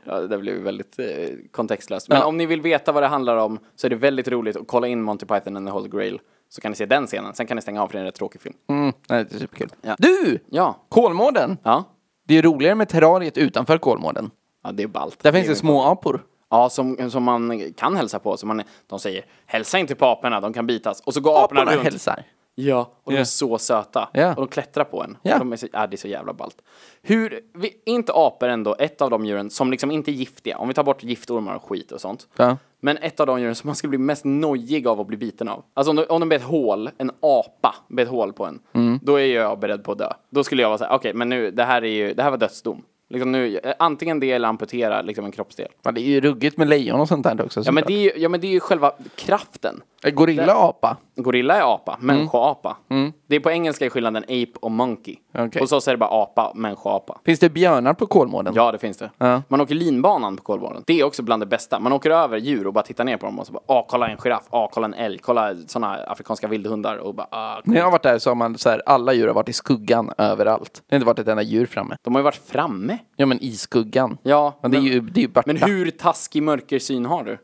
[SPEAKER 1] Ja, det där blev ju väldigt eh, kontextlöst. Men
[SPEAKER 2] Ja.
[SPEAKER 1] om ni vill veta vad det handlar om så är det väldigt roligt att kolla in Monty Python and the Holy Grail. Så kan ni se den scenen. Sen kan ni stänga av för det är en rätt tråkig film.
[SPEAKER 2] Mm, nej, det är superkul.
[SPEAKER 1] Ja.
[SPEAKER 2] Du!
[SPEAKER 1] Ja.
[SPEAKER 2] Kolmården!
[SPEAKER 1] Ja.
[SPEAKER 2] Det är roligare med terrariet utanför Kolmården.
[SPEAKER 1] Ja, det är ballt.
[SPEAKER 2] Där finns det små apor.
[SPEAKER 1] Ja, som, som man kan hälsa på. Som man, de säger hälsa inte på aporna, de kan bitas. Och så går aporna,
[SPEAKER 2] Aporna
[SPEAKER 1] runt.
[SPEAKER 2] hälsar.
[SPEAKER 1] Ja, och de
[SPEAKER 2] Ja.
[SPEAKER 1] är så söta.
[SPEAKER 2] Ja.
[SPEAKER 1] Och de klättrar på en.
[SPEAKER 2] Ja.
[SPEAKER 1] De är så, ja, det är så jävla ballt. Hur, vi, är inte apor ändå ett av de djuren som liksom inte är giftiga? Om vi tar bort giftormar och skit och sånt.
[SPEAKER 2] Ja.
[SPEAKER 1] Men ett av de djuren som man skulle bli mest nojig av att bli biten av. Alltså om de, om de bet hål, en apa bet hål på en,
[SPEAKER 2] Mm.
[SPEAKER 1] då är jag beredd på att dö. Då skulle jag vara så här, okej, men nu, det här är ju, det här var dödsdom. Liksom nu, eh, antingen det eller amputera liksom en kroppsdel.
[SPEAKER 2] Ja, det är ju ruggigt med lejon och sånt där också.
[SPEAKER 1] Ja men, det är ju, ja men det är ju själva kraften.
[SPEAKER 2] Gorilla-apa.
[SPEAKER 1] Gorilla är apa,
[SPEAKER 2] Mm.
[SPEAKER 1] människoapa. Det är på engelska är skillnaden ape och monkey.
[SPEAKER 2] Okej.
[SPEAKER 1] Och så är det bara apa, människoapa.
[SPEAKER 2] Finns det björnar på Kolmården?
[SPEAKER 1] Ja, det finns det.
[SPEAKER 2] Ja.
[SPEAKER 1] Man åker linbanan på Kolmården. Det är också bland det bästa. Man åker över djur och bara tittar ner på dem och så bara, ah, kolla en giraff, ah, kolla en älg, kolla sådana afrikanska vildhundar och bara, ah.
[SPEAKER 2] När jag har varit där så har man så här, alla djur har varit i skuggan överallt. Det har inte varit ett enda djur framme.
[SPEAKER 1] De har ju varit framme.
[SPEAKER 2] Ja men i skuggan.
[SPEAKER 1] Ja,
[SPEAKER 2] men det är ju, det är ju borta.
[SPEAKER 1] Men hur taskig mörkersyn har du?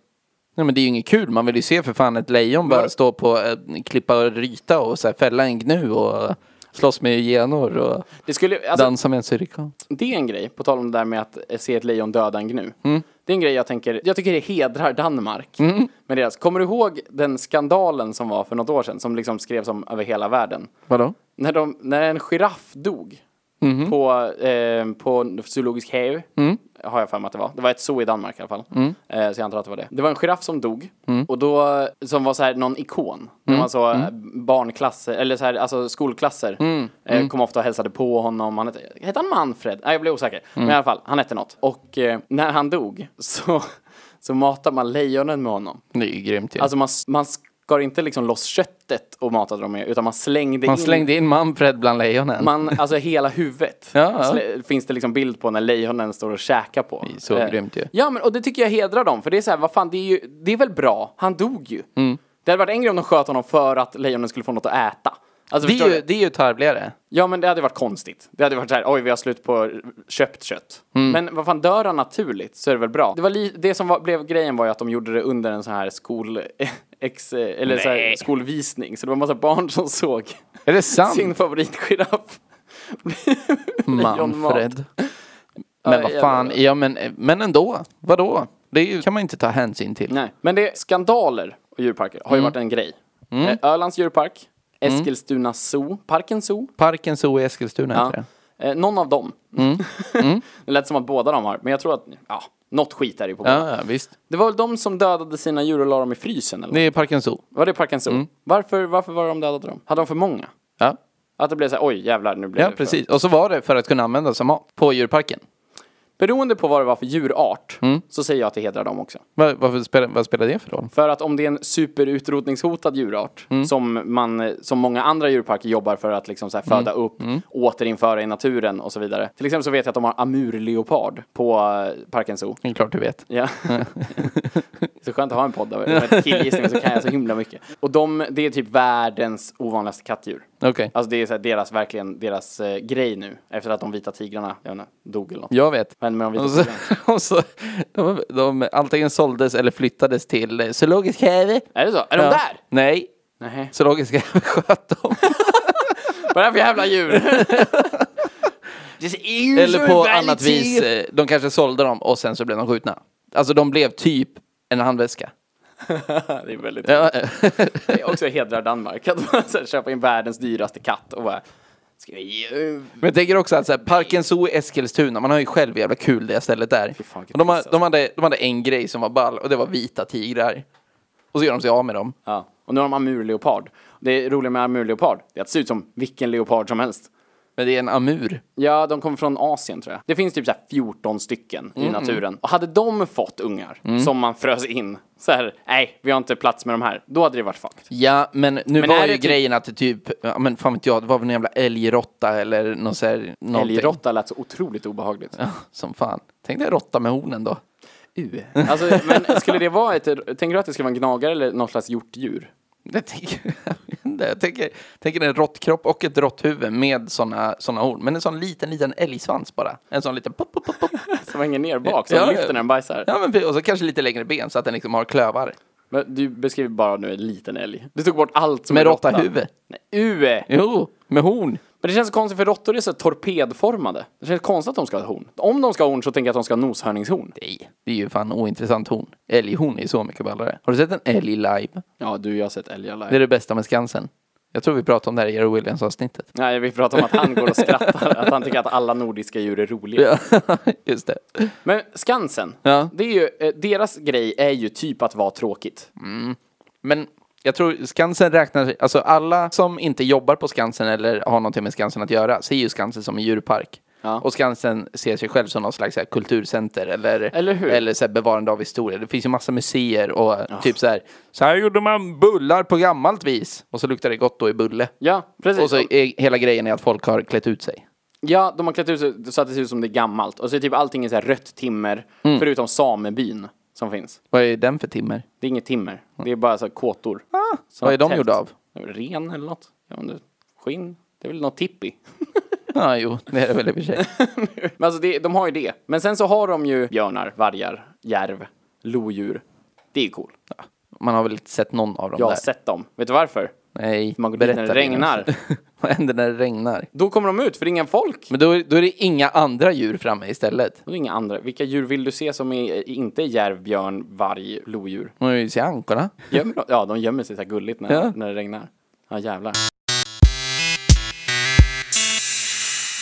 [SPEAKER 2] Nej men det är ju inget kul. Man vill ju se för fan ett lejon bara stå på en klippa och ryta och så här, fälla en gnu och slåss med hyenor och
[SPEAKER 1] Det skulle, alltså,
[SPEAKER 2] dansa med en syrikat.
[SPEAKER 1] det är en grej, på tal om det där med att eh, se ett lejon döda en gnu. Det är en grej jag tänker, jag tycker det hedrar Danmark. Med deras, kommer du ihåg den skandalen som var för något år sedan, som liksom skrevs om över hela världen?
[SPEAKER 2] Vadå?
[SPEAKER 1] När, de, när en giraff dog på, eh, på zoologisk häv, har jag för mig att det var. Det var ett zoo i Danmark i alla fall. Eh, så jag antar att det var det. Det var en giraff som dog, och då, som var så här någon ikon. När man så mm. barnklasser, eller så här, alltså skolklasser, eh, kom ofta och hälsade på honom. Han hette, hette han Manfred? Nej, jag blev osäker. Men i alla fall, han hette något. Och eh, när han dog så, (laughs) så matade man lejonen med honom.
[SPEAKER 2] Det är ju grymt ju.
[SPEAKER 1] Alltså man, man skar inte liksom loss köttet och matade dem med, utan man slängde
[SPEAKER 2] man
[SPEAKER 1] in
[SPEAKER 2] slängde in Manfred bland lejonen.
[SPEAKER 1] man, alltså hela huvudet
[SPEAKER 2] Ja, ja.
[SPEAKER 1] Slä- finns det liksom bild på när lejonen står och käkar på. Eh,
[SPEAKER 2] är så grymt ju.
[SPEAKER 1] Ja, men, och det tycker jag hedrar dem. För det är så här, vad fan, det är, ju, det är väl bra. Han dog ju.
[SPEAKER 2] Mm.
[SPEAKER 1] Det hade varit en grej om de sköt honom för att lejonen skulle få något att äta. Alltså,
[SPEAKER 2] det,
[SPEAKER 1] förstår
[SPEAKER 2] är ju,
[SPEAKER 1] du?
[SPEAKER 2] det är ju tarvligare.
[SPEAKER 1] Ja, men det hade varit konstigt. Det hade varit så här, oj, vi har slut på köpt kött.
[SPEAKER 2] Mm.
[SPEAKER 1] Men vad fan, dör han naturligt så är det väl bra. Det, var li- det som var, blev grejen var ju att de gjorde det under en sån här skol... (laughs) Ex, eller så här,
[SPEAKER 2] Nej.
[SPEAKER 1] skolvisning, så det var en massa barn som såg
[SPEAKER 2] Är det sant? (laughs)
[SPEAKER 1] sin favoritgiraff. Lejonmat.
[SPEAKER 2] Manfred. Men
[SPEAKER 1] Ja,
[SPEAKER 2] vad fan, ja men, men eh, ändå, vadå? Det är ju- kan man inte ta hänsyn till.
[SPEAKER 1] Nej, men det skandaler och djurparker har ju
[SPEAKER 2] Mm.
[SPEAKER 1] varit en grej. Eh, Ölands djurpark, Eskilstuna zoo, Parken zoo.
[SPEAKER 2] Parken Zoo i Eskilstuna heter
[SPEAKER 1] Ja.
[SPEAKER 2] det.
[SPEAKER 1] Eh, någon av dem.
[SPEAKER 2] Mm.
[SPEAKER 1] (laughs) det lät som att båda de har, men jag tror att, ja, något skit är det ju på båda.
[SPEAKER 2] Ja, ja, visst.
[SPEAKER 1] Det var väl de som dödade sina djur och la dem i frysen eller?
[SPEAKER 2] Det är Parken Zoo.
[SPEAKER 1] Var det Parken
[SPEAKER 2] Mm.
[SPEAKER 1] zoo? Varför, varför var de dödade dem? Hade de för många?
[SPEAKER 2] Ja,
[SPEAKER 1] Att det blev så här, oj jävlar nu blev
[SPEAKER 2] ja
[SPEAKER 1] det för...
[SPEAKER 2] precis. Och så var det för att kunna använda som mat på djurparken.
[SPEAKER 1] Beroende på vad det var för djurart,
[SPEAKER 2] Mm.
[SPEAKER 1] så säger jag att det hedrar dem också.
[SPEAKER 2] Vad, varför spelar, vad spelar det för roll?
[SPEAKER 1] För att om det är en superutrotningshotad djurart som, man, eh, som många andra djurparker jobbar för att liksom så här föda upp, återinföra i naturen och så vidare. Till exempel så vet jag att de har amurleopard på eh, Parken Zoo.
[SPEAKER 2] Det är klart du vet.
[SPEAKER 1] Ja. så skönt att ha en podd där med killgissning så kan jag så himla mycket. Och de, det är typ världens ovanligaste kattdjur.
[SPEAKER 2] Okej.
[SPEAKER 1] Alltså det är så här deras, verkligen deras eh, grej nu. Efter att de vita tigrarna, jag vet inte, dog eller något.
[SPEAKER 2] Jag vet.
[SPEAKER 1] Vad hände med de
[SPEAKER 2] Och
[SPEAKER 1] vita
[SPEAKER 2] så,
[SPEAKER 1] tigrarna?
[SPEAKER 2] (laughs) och så, de, de antingen såldes eller flyttades till eh, Zoologiska Häve.
[SPEAKER 1] Är det så? Är de där?
[SPEAKER 2] Nej,
[SPEAKER 1] Nej.
[SPEAKER 2] Zoologiska (laughs) Häve sköt
[SPEAKER 1] (laughs)
[SPEAKER 2] dem.
[SPEAKER 1] Vad är det här för jävla djur?
[SPEAKER 2] eller på annat vis, eh, de kanske sålde dem och sen så blev de skjutna. Alltså de blev typ en handväska.
[SPEAKER 1] det är väldigt...
[SPEAKER 2] Ja,
[SPEAKER 1] Det är också hedrar Danmark att man så här, köpa in världens dyraste katt och bara... Ska jag ge...
[SPEAKER 2] Men jag tänker också att så här, Parken Zoo i Eskilstuna, man har ju själv hur jävla kul det stället där.
[SPEAKER 1] fan, vilket
[SPEAKER 2] Och de, har,
[SPEAKER 1] piss, alltså.
[SPEAKER 2] de, hade, de hade en grej som var ball och det var vita tigrar. Och så gör de sig av med dem.
[SPEAKER 1] Ja. Och nu har de amurleopard. Det roliga med amurleopard, det är att det ser ut som vilken leopard som helst.
[SPEAKER 2] Men det är en amur.
[SPEAKER 1] Ja, de kommer från Asien tror jag. Det finns typ så här 14 stycken
[SPEAKER 2] Mm,
[SPEAKER 1] i naturen. Och hade de fått ungar som man frös in, så här, nej, vi har inte plats med de här, då hade det varit fucked.
[SPEAKER 2] Ja, men nu
[SPEAKER 1] Men är
[SPEAKER 2] var
[SPEAKER 1] det
[SPEAKER 2] ju
[SPEAKER 1] typ-
[SPEAKER 2] grejen att det typ, ja, men fan vet jag, det var väl en jävla älgrotta eller någon så här, någonting.
[SPEAKER 1] Älgråtta lät så otroligt obehagligt.
[SPEAKER 2] Ja, som fan. Tänk dig råtta med hornen då. (laughs)
[SPEAKER 1] U. Alltså, men skulle det vara ett, tänker du att det skulle vara en gnagare eller något slags hjortdjur?
[SPEAKER 2] Jag tänker, jag vet inte, jag tänker, tänker en råttkropp och ett råtthuvud med sådana såna horn. Men en sån liten, liten älgsvans bara. En sån liten pop, pop, pop, pop.
[SPEAKER 1] Som hänger ner bak, som
[SPEAKER 2] Ja, ja.
[SPEAKER 1] lyfter när den bajsar.
[SPEAKER 2] Ja, men, och så kanske lite längre ben så att den liksom har klövar.
[SPEAKER 1] Men du beskriver bara nu en liten älg. Du tog bort allt som
[SPEAKER 2] Med
[SPEAKER 1] är råtta.
[SPEAKER 2] råttahuvud.
[SPEAKER 1] Nej, U.
[SPEAKER 2] Jo, med horn.
[SPEAKER 1] Men det känns så konstigt för råttor är så torpedformade. Det känns konstigt att de ska ha horn. Om de ska ha horn så tänker jag att de ska ha noshörningshorn.
[SPEAKER 2] Nej, det är ju fan ointressant horn. Älghorn är ju så mycket ballare. Har du sett en älg live?
[SPEAKER 1] Ja, du, jag har sett älgar
[SPEAKER 2] Det är
[SPEAKER 1] live.
[SPEAKER 2] det bästa med Skansen. Jag tror vi pratade om det här i Jerry Williams-avsnittet. (laughs)
[SPEAKER 1] Nej, vi pratar om att han går och skrattar. att han tycker att alla nordiska djur är roliga.
[SPEAKER 2] Ja, just det.
[SPEAKER 1] Men Skansen,
[SPEAKER 2] Ja.
[SPEAKER 1] det är ju, eh, deras grej är ju typ att vara tråkigt.
[SPEAKER 2] Men jag tror Skansen räknar, alltså alla som inte jobbar på Skansen eller har någonting med Skansen att göra ser ju Skansen som en djurpark.
[SPEAKER 1] Ja.
[SPEAKER 2] Och Skansen ser sig själv som någon slags så här, kulturcenter eller,
[SPEAKER 1] Eller hur?
[SPEAKER 2] så här, bevarande av historia. Det finns ju massa museer och typ så här, så här gjorde man bullar på gammalt vis. Och så luktar det gott då i bulle.
[SPEAKER 1] Ja, precis.
[SPEAKER 2] Och så är, hela grejen är att folk har klätt ut sig.
[SPEAKER 1] Ja, de har klätt ut sig så att det ser ut som det är gammalt. Och så är typ allting i så här rött timmer,
[SPEAKER 2] Mm.
[SPEAKER 1] förutom samebyn som finns.
[SPEAKER 2] Vad är den för timmer?
[SPEAKER 1] Det är inget timmer, det är bara så här kåtor. Som
[SPEAKER 2] Ah, Vad är de
[SPEAKER 1] tält.
[SPEAKER 2] gjorda av?
[SPEAKER 1] Ren eller något? Jag vet inte. Skinn? Det är väl något tippi?
[SPEAKER 2] Ja, ah, jo, det är det väl i och för sig.
[SPEAKER 1] Men alltså det, de har ju det. Men sen så har de ju björnar, vargar, järv, lodjur. Det är ju cool.
[SPEAKER 2] Man har väl inte sett någon av dem
[SPEAKER 1] Jag har
[SPEAKER 2] där?
[SPEAKER 1] sett dem. Vet du varför?
[SPEAKER 2] Nej,
[SPEAKER 1] Man går dit när det
[SPEAKER 2] berätta
[SPEAKER 1] regnar.
[SPEAKER 2] (laughs) Vad händer när det regnar?
[SPEAKER 1] Då kommer de ut, för det är inga folk.
[SPEAKER 2] Men då, är- då är det inga andra djur framme istället.
[SPEAKER 1] Och det är inga andra. Vilka djur vill du se som är, inte är järv, björn, varg, lodjur?
[SPEAKER 2] Man vill ju se ankorna.
[SPEAKER 1] Gömmer de? Ja, de gömmer sig så här gulligt när,
[SPEAKER 2] Ja.
[SPEAKER 1] när det regnar. Ja, jävlar.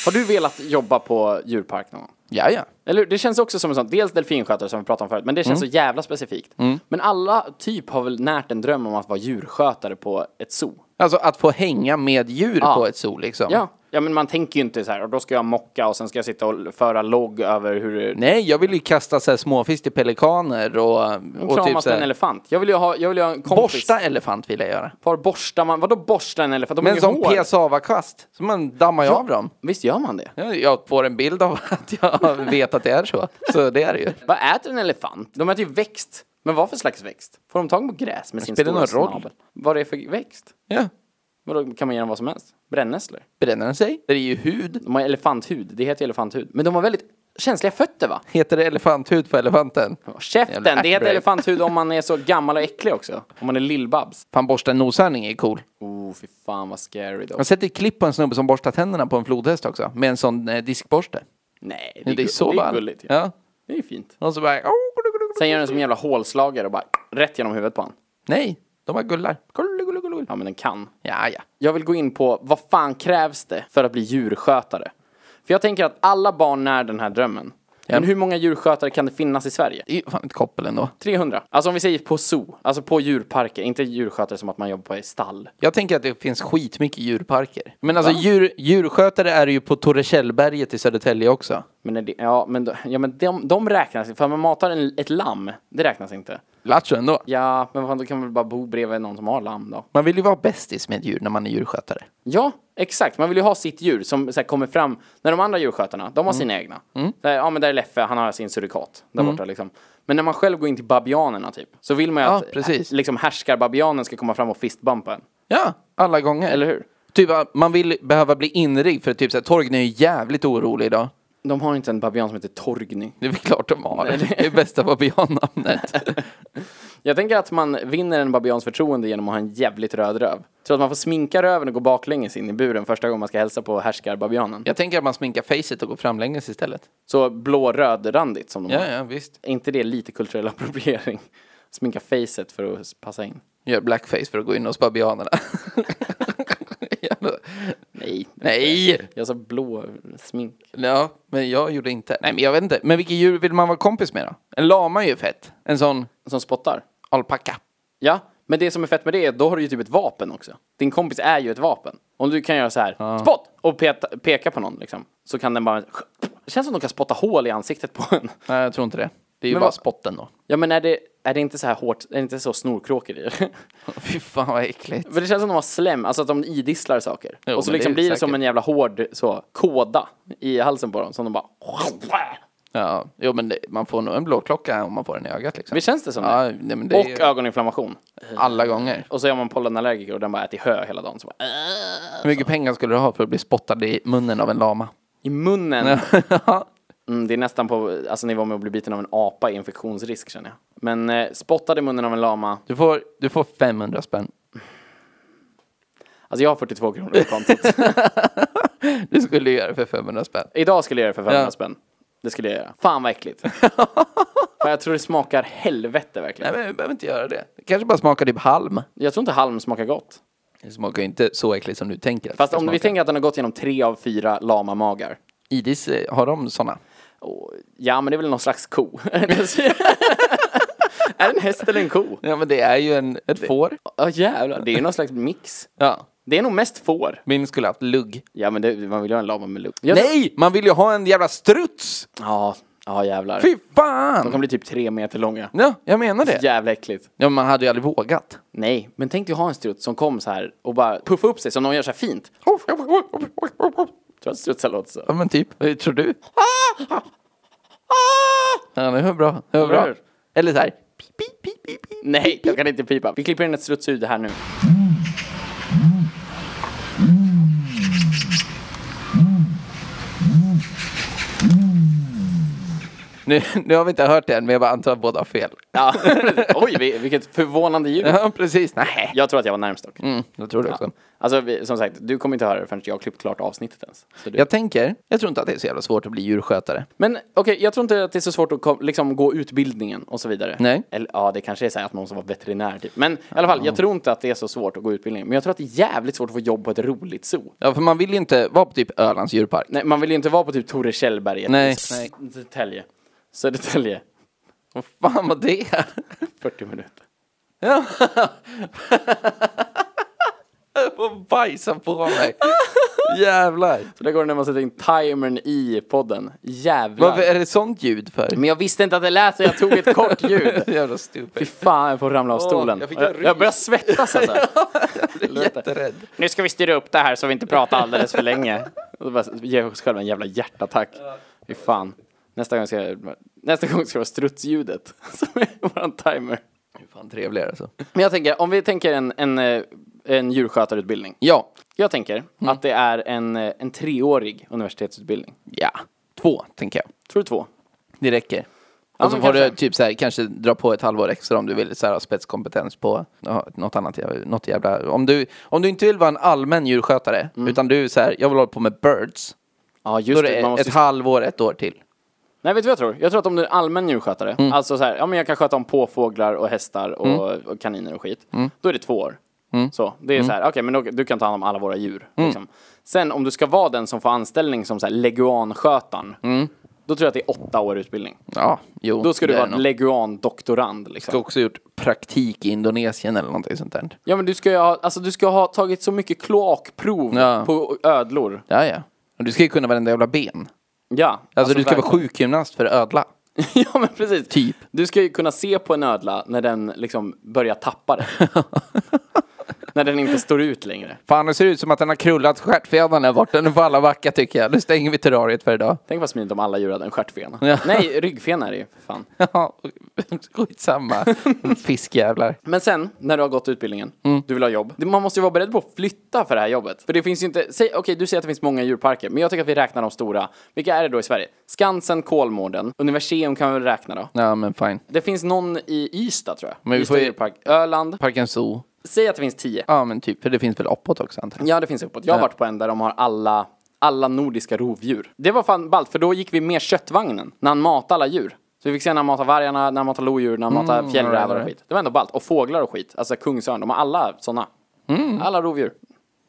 [SPEAKER 1] Har du velat jobba på djurpark någon gång?
[SPEAKER 2] Ja, ja.
[SPEAKER 1] Eller hur? Det känns också som en sån, dels delfinskötare som vi pratade om förut, men det
[SPEAKER 2] Mm.
[SPEAKER 1] känns så jävla specifikt. Men alla typ har väl närt en dröm om att vara djurskötare på ett zoo.
[SPEAKER 2] Alltså att få hänga med djur
[SPEAKER 1] Ja.
[SPEAKER 2] på ett zoo liksom.
[SPEAKER 1] Ja, ja men man tänker ju inte så här, och då ska jag mocka och sen ska jag sitta och föra logg över hur det...
[SPEAKER 2] Nej, jag vill ju kasta så här småfisk till pelikaner och... och
[SPEAKER 1] Kramas
[SPEAKER 2] typ så
[SPEAKER 1] med en
[SPEAKER 2] här,
[SPEAKER 1] elefant. Jag vill ju ha, jag vill ju ha en kompis.
[SPEAKER 2] borsta elefant vill jag göra.
[SPEAKER 1] Var borstar man? Vadå borsta en elefant? De har
[SPEAKER 2] Men
[SPEAKER 1] ju
[SPEAKER 2] som
[SPEAKER 1] hår.
[SPEAKER 2] pesava-kvast. Så man dammar ju av dem.
[SPEAKER 1] Visst gör man det?
[SPEAKER 2] Ja, Jag får en bild av (laughs) att jag vet att det är så. Så det är det ju.
[SPEAKER 1] Vad äter en elefant? De äter ju växt. Men vad för slags växt? Får de tag på gräs med sin
[SPEAKER 2] spelar
[SPEAKER 1] stora
[SPEAKER 2] någon roll.
[SPEAKER 1] snabel? Vad det är för växt?
[SPEAKER 2] Ja.
[SPEAKER 1] Vadå, kan man ge dem vad som helst? Brännässlor?
[SPEAKER 2] Bränner den sig? Det är ju hud.
[SPEAKER 1] De har elefanthud, det heter ju elefanthud. Men de har väldigt känsliga fötter va?
[SPEAKER 2] Heter det elefanthud på elefanten?
[SPEAKER 1] Käften,
[SPEAKER 2] Jävla
[SPEAKER 1] det heter
[SPEAKER 2] äcklig.
[SPEAKER 1] elefanthud om man
[SPEAKER 2] (laughs)
[SPEAKER 1] är så gammal och äcklig också. Om man är lillbabs.
[SPEAKER 2] Fan, borsta en noshörning är cool.
[SPEAKER 1] Oh, fy fan vad scary då.
[SPEAKER 2] Jag har sett ett klipp på en snubbe som borstar tänderna på en flodhäst också. Med en sån eh, diskborste.
[SPEAKER 1] Nej,
[SPEAKER 2] Det är,
[SPEAKER 1] gull-
[SPEAKER 2] så
[SPEAKER 1] det är
[SPEAKER 2] ball.
[SPEAKER 1] gulligt. Ja.
[SPEAKER 2] ja.
[SPEAKER 1] Det är ju fint.
[SPEAKER 2] Och så bara...
[SPEAKER 1] Sen gör den som en jävla hålslagare och bara rätt genom huvudet på han.
[SPEAKER 2] Nej, de bara gullar. Gull, gull, gull, gull.
[SPEAKER 1] Ja, men den kan.
[SPEAKER 2] Ja, ja.
[SPEAKER 1] Jag vill gå in på vad fan krävs det för att bli djurskötare? För jag tänker att alla barn när den här drömmen. Men hur många djurskötare kan det finnas i Sverige?
[SPEAKER 2] Det är ju fan ett koppel ändå.
[SPEAKER 1] 300. Alltså om vi säger på zoo, alltså på djurparker, inte djurskötare som att man jobbar på i stall.
[SPEAKER 2] Jag tänker att det finns skitmycket djurparker. Men alltså djur, djurskötare är det ju på Torrekällberget i Södertälje också.
[SPEAKER 1] Men, är det, ja, men, då- ja, men de, de räknas inte, för man matar en, ett lamm, det räknas inte.
[SPEAKER 2] Lattjo ändå.
[SPEAKER 1] Ja, men vad fan, då kan man väl bara bo bredvid någon som har lamm då?
[SPEAKER 2] Man vill ju vara bästis med djur när man är djurskötare.
[SPEAKER 1] Ja, exakt. Man vill ju ha sitt djur som så här, kommer fram. När de andra djurskötarna, de har sina egna. Så här, ja, men där är Leffe, han har sin surikat där borta liksom. Men när man själv går in till babianerna typ, så vill man ju
[SPEAKER 2] Ja,
[SPEAKER 1] att
[SPEAKER 2] precis.
[SPEAKER 1] eh, liksom härskarbabianen ska komma fram och fistbumpa en.
[SPEAKER 2] Ja, alla gånger.
[SPEAKER 1] Eller hur?
[SPEAKER 2] Typ att man vill behöva bli inringd för typ såhär, Torgny är ju jävligt orolig idag.
[SPEAKER 1] De har inte en babian som heter Torgny.
[SPEAKER 2] Det är väl klart de har. Det är bästa babiannamnet.
[SPEAKER 1] Jag tänker att man vinner en babians förtroende genom att ha en jävligt röd röv. Tror att man får sminka röven och gå baklänges in i buren första gången man ska hälsa på härskarbabianen.
[SPEAKER 2] (laughs) Jag tänker att man sminkar facet och går framlänges istället.
[SPEAKER 1] Så blå-röd-randigt som de har.
[SPEAKER 2] Ja, ja, visst.
[SPEAKER 1] Är inte det lite kulturell appropriering? Sminka facet för att passa in.
[SPEAKER 2] Gör blackface för att gå in hos (laughs) babianerna. Jävla-
[SPEAKER 1] Nej.
[SPEAKER 2] Nej!
[SPEAKER 1] Jag sa blå smink.
[SPEAKER 2] Ja, men jag gjorde inte. Nej, men jag vet inte. Men vilket djur vill man vara kompis med då? En lama är ju fett. En sån
[SPEAKER 1] Som spottar.
[SPEAKER 2] alpacka.
[SPEAKER 1] Ja, men det som är fett med det är att då har du ju typ ett vapen också. Din kompis är ju ett vapen. Om du kan göra så här, spott! Och peta, peka på någon liksom. Så kan den bara... Det känns som de kan spotta hål i ansiktet på en.
[SPEAKER 2] Nej, jag tror inte det. Det är ju
[SPEAKER 1] Men
[SPEAKER 2] bara
[SPEAKER 1] vad-
[SPEAKER 2] spotten då. (laughs)
[SPEAKER 1] Ja men är det, är det inte så här hårt, är det inte så snorkråkor i det?
[SPEAKER 2] Fy fan vad äckligt.
[SPEAKER 1] (laughs) För det känns som de har slem, alltså att de idisslar saker.
[SPEAKER 2] Jo,
[SPEAKER 1] och så
[SPEAKER 2] men det
[SPEAKER 1] liksom
[SPEAKER 2] är
[SPEAKER 1] blir det
[SPEAKER 2] säkert.
[SPEAKER 1] som en jävla hård så, kåda i halsen på dem som de bara...
[SPEAKER 2] Ja, jo men det, man får nog en blåklocka om man får den i ögat liksom.
[SPEAKER 1] Visst känns det som
[SPEAKER 2] Ja,
[SPEAKER 1] det?
[SPEAKER 2] nej, men det
[SPEAKER 1] och
[SPEAKER 2] är ju-
[SPEAKER 1] ögoninflammation.
[SPEAKER 2] Alla gånger.
[SPEAKER 1] Och så är man pollenallergiker och den bara äter hö hela dagen. Så bara, äh.
[SPEAKER 2] Hur mycket pengar skulle du ha för att bli spottad i munnen av en lama? (laughs)
[SPEAKER 1] I munnen! Mm, det är nästan på alltså, nivå med att bli biten av en apa i infektionsrisk känner jag. Men eh, spottad i munnen av en lama.
[SPEAKER 2] Du får, du får 500 spänn.
[SPEAKER 1] Alltså jag har 42 kronor på
[SPEAKER 2] (laughs)
[SPEAKER 1] kontot.
[SPEAKER 2] Du skulle göra det för 500 spänn.
[SPEAKER 1] Idag skulle jag göra det för 500
[SPEAKER 2] Ja.
[SPEAKER 1] spänn. Det skulle jag göra. Fan
[SPEAKER 2] (laughs)
[SPEAKER 1] vad äckligt. Fan, jag tror det smakar helvete verkligen.
[SPEAKER 2] Nej men vi behöver inte göra det. Det kanske bara smakar typ halm.
[SPEAKER 1] Jag tror inte halm smakar gott.
[SPEAKER 2] Det smakar ju inte så äckligt som du tänker. att det
[SPEAKER 1] Fast
[SPEAKER 2] ska
[SPEAKER 1] om vi
[SPEAKER 2] smaka.
[SPEAKER 1] tänker att den har gått genom tre av fyra lamamagar.
[SPEAKER 2] Idis, eh, har de sådana?
[SPEAKER 1] Och, ja, men det är väl någon slags ko. (laughs)
[SPEAKER 2] (laughs)
[SPEAKER 1] är det en häst eller en ko?
[SPEAKER 2] Ja men det är ju en, ett får.
[SPEAKER 1] Ja jävlar, det är någon slags mix.
[SPEAKER 2] Ja.
[SPEAKER 1] Det är nog mest får.
[SPEAKER 2] Min skulle haft lugg.
[SPEAKER 1] Ja men det, man vill ju ha en lama med lukt.
[SPEAKER 2] Nej! Man vill ju ha en jävla struts!
[SPEAKER 1] Ja, ja jävlar.
[SPEAKER 2] Fy
[SPEAKER 1] De
[SPEAKER 2] fan!
[SPEAKER 1] kan bli typ tre meter långa.
[SPEAKER 2] Ja, jag menar det. Ja
[SPEAKER 1] Jävla äckligt.
[SPEAKER 2] men man hade ju aldrig vågat.
[SPEAKER 1] Nej, men tänk dig ha en struts som kom så här och bara puffa upp sig som de gör så här fint. Tror att strutsar låter så.
[SPEAKER 2] Ja men typ, hur tror du? Ja det var bra, det var bra.
[SPEAKER 1] Eller hur?
[SPEAKER 2] Eller såhär, pip, pip, pip, pip, pip.
[SPEAKER 1] Nej, jag kan inte pipa. Vi klipper in ett strutsljud här nu.
[SPEAKER 2] Nu, nu har vi inte hört det än men jag bara antar att båda har fel.
[SPEAKER 1] Ja. (laughs) Oj, vi- vilket förvånande ljud.
[SPEAKER 2] Ja precis, nej.
[SPEAKER 1] Jag tror att jag var närmst
[SPEAKER 2] (laughs)
[SPEAKER 1] dock.
[SPEAKER 2] Mm, jag tror det också.
[SPEAKER 1] Alltså vi, som sagt, du kommer inte höra det förrän jag har klippt klart avsnittet ens. Så du...
[SPEAKER 2] Jag tänker, jag tror inte att det är så jävla svårt att bli djurskötare.
[SPEAKER 1] Men okej, jag tror inte att det är så svårt att kom, liksom, gå utbildningen och så vidare.
[SPEAKER 2] Nej.
[SPEAKER 1] Eller ja, det kanske är så här att någon som var veterinär typ. Men i alla fall, jag tror inte att det är så svårt att gå utbildningen. Men jag tror att det är jävligt svårt att få jobb på ett roligt zoo.
[SPEAKER 2] Ja för man vill ju inte vara på typ Ölands djurpark.
[SPEAKER 1] Nej, man vill ju inte vara på typ Tore Kjellberget.
[SPEAKER 2] Nej,
[SPEAKER 1] i S- Södertälje. Södertälje.
[SPEAKER 2] Vad fan var det?
[SPEAKER 1] 40 minuter.
[SPEAKER 2] Och bajsa på mig. Jävlar.
[SPEAKER 1] Så där går det när man sätter in timern i podden. Jävlar.
[SPEAKER 2] Varför är det sånt ljud för?
[SPEAKER 1] Men jag visste inte att det lät så jag tog ett kort ljud.
[SPEAKER 2] (laughs) Jävla
[SPEAKER 1] Fy
[SPEAKER 2] stupid.
[SPEAKER 1] fan, jag får ramla av
[SPEAKER 2] Åh,
[SPEAKER 1] stolen.
[SPEAKER 2] jag fick en
[SPEAKER 1] jag, jag
[SPEAKER 2] rys.
[SPEAKER 1] börjar
[SPEAKER 2] (laughs)
[SPEAKER 1] svettas alltså.
[SPEAKER 2] Jag blir jätterädd.
[SPEAKER 1] Nu ska vi styra upp det här så vi inte pratar alldeles för (laughs) länge. Och då bara ger jag oss själva en jävla hjärtattack. Fy fan. Nästa gång ska, jag- nästa gång ska det vara strutsljudet (laughs) som är våran timer.
[SPEAKER 2] Det är Fan trevligare alltså.
[SPEAKER 1] Men jag tänker, om vi tänker en, en, eh, en djurskötarutbildning.
[SPEAKER 2] Ja.
[SPEAKER 1] Jag tänker att det är en, eh, en treårig universitetsutbildning.
[SPEAKER 2] Ja. Två, tänker jag.
[SPEAKER 1] Tror du två?
[SPEAKER 2] Det räcker.
[SPEAKER 1] men
[SPEAKER 2] och så får du
[SPEAKER 1] kanske.
[SPEAKER 2] typ så här, kanske dra på ett halvår extra om du vill så här, ha spetskompetens på ja, något annat jävla- något jävla... Om du, om du inte vill vara en allmän djurskötare,
[SPEAKER 1] Mm.
[SPEAKER 2] utan du är så här, jag vill hålla på med birds,
[SPEAKER 1] Ja,
[SPEAKER 2] då
[SPEAKER 1] just
[SPEAKER 2] är det
[SPEAKER 1] det. Man
[SPEAKER 2] ett
[SPEAKER 1] måste,
[SPEAKER 2] halvår, ett år till.
[SPEAKER 1] Nej, vet du vad jag tror? Jag tror att om du är en allmän djurskötare,
[SPEAKER 2] Mm.
[SPEAKER 1] alltså så här, ja men jag kan sköta om påfåglar och hästar och, och kaniner och skit,
[SPEAKER 2] Mm.
[SPEAKER 1] då är det två år. Så, det är så här, okej men då, du kan ta hand om alla våra djur.
[SPEAKER 2] Mm.
[SPEAKER 1] Liksom. Sen om du ska vara den som får anställning som så här leguanskötaren, då tror jag att det är åtta år utbildning.
[SPEAKER 2] Ja, jo.
[SPEAKER 1] Då ska du
[SPEAKER 2] Mm. det är
[SPEAKER 1] vara
[SPEAKER 2] nog.
[SPEAKER 1] leguandoktorand liksom.
[SPEAKER 2] ska också ha gjort praktik i Indonesien eller någonting sånt där.
[SPEAKER 1] Ja men du ska ju ha, alltså du ska ha tagit så mycket kloakprov
[SPEAKER 2] Ja.
[SPEAKER 1] på ödlor.
[SPEAKER 2] Ja, ja. Och du ska ju kunna varenda jävla ben. Alltså,
[SPEAKER 1] Ja.
[SPEAKER 2] du ska vara sjukgymnast för ödla.
[SPEAKER 1] (laughs) ja men precis.
[SPEAKER 2] Typ.
[SPEAKER 1] Du ska ju kunna se på en ödla när den liksom börjar
[SPEAKER 2] (laughs)
[SPEAKER 1] tappa det. när den inte står ut längre.
[SPEAKER 2] Fan, det ser ut som att den har krullat stjärtfjädern där borta. Nu får alla backa tycker jag. Nu stänger vi terrariet för idag. (laughs)
[SPEAKER 1] Tänk vad smidigt om alla djur hade en stjärtfena.
[SPEAKER 2] Ja.
[SPEAKER 1] Nej, ryggfena är det ju för fan.
[SPEAKER 2] Ja, skitsamma. (laughs) Fiskjävlar.
[SPEAKER 1] Men sen, när du har gått utbildningen,
[SPEAKER 2] Mm.
[SPEAKER 1] du vill ha jobb. Det- Man måste ju vara beredd på att flytta för det här jobbet. För det finns ju inte, säg, okej du säger att det finns många djurparker, men jag tycker att vi räknar de stora. Vilka är det då i Sverige? Skansen, Kolmården, Universium kan vi väl räkna då?
[SPEAKER 2] Ja, men fine.
[SPEAKER 1] Det finns någon i Ystad tror jag.
[SPEAKER 2] Men vi
[SPEAKER 1] Ystad
[SPEAKER 2] får ju-
[SPEAKER 1] djurpark. Öland.
[SPEAKER 2] Parken Zoo.
[SPEAKER 1] Säg att det finns tio.
[SPEAKER 2] Ja, men typ. För det finns väl uppåt också antar jag.
[SPEAKER 1] Ja, det finns uppåt. Jag har varit på en där de har alla, alla nordiska rovdjur. Det var fan ballt, för då gick vi med köttvagnen när han matade alla djur. Så vi fick se när han matade vargarna, när han matade lodjur, när han
[SPEAKER 2] Mm,
[SPEAKER 1] matade fjällrävar och skit. Det var ändå ballt. Och fåglar och skit. Alltså kungsörn, de har alla sådana.
[SPEAKER 2] Mm.
[SPEAKER 1] Alla rovdjur.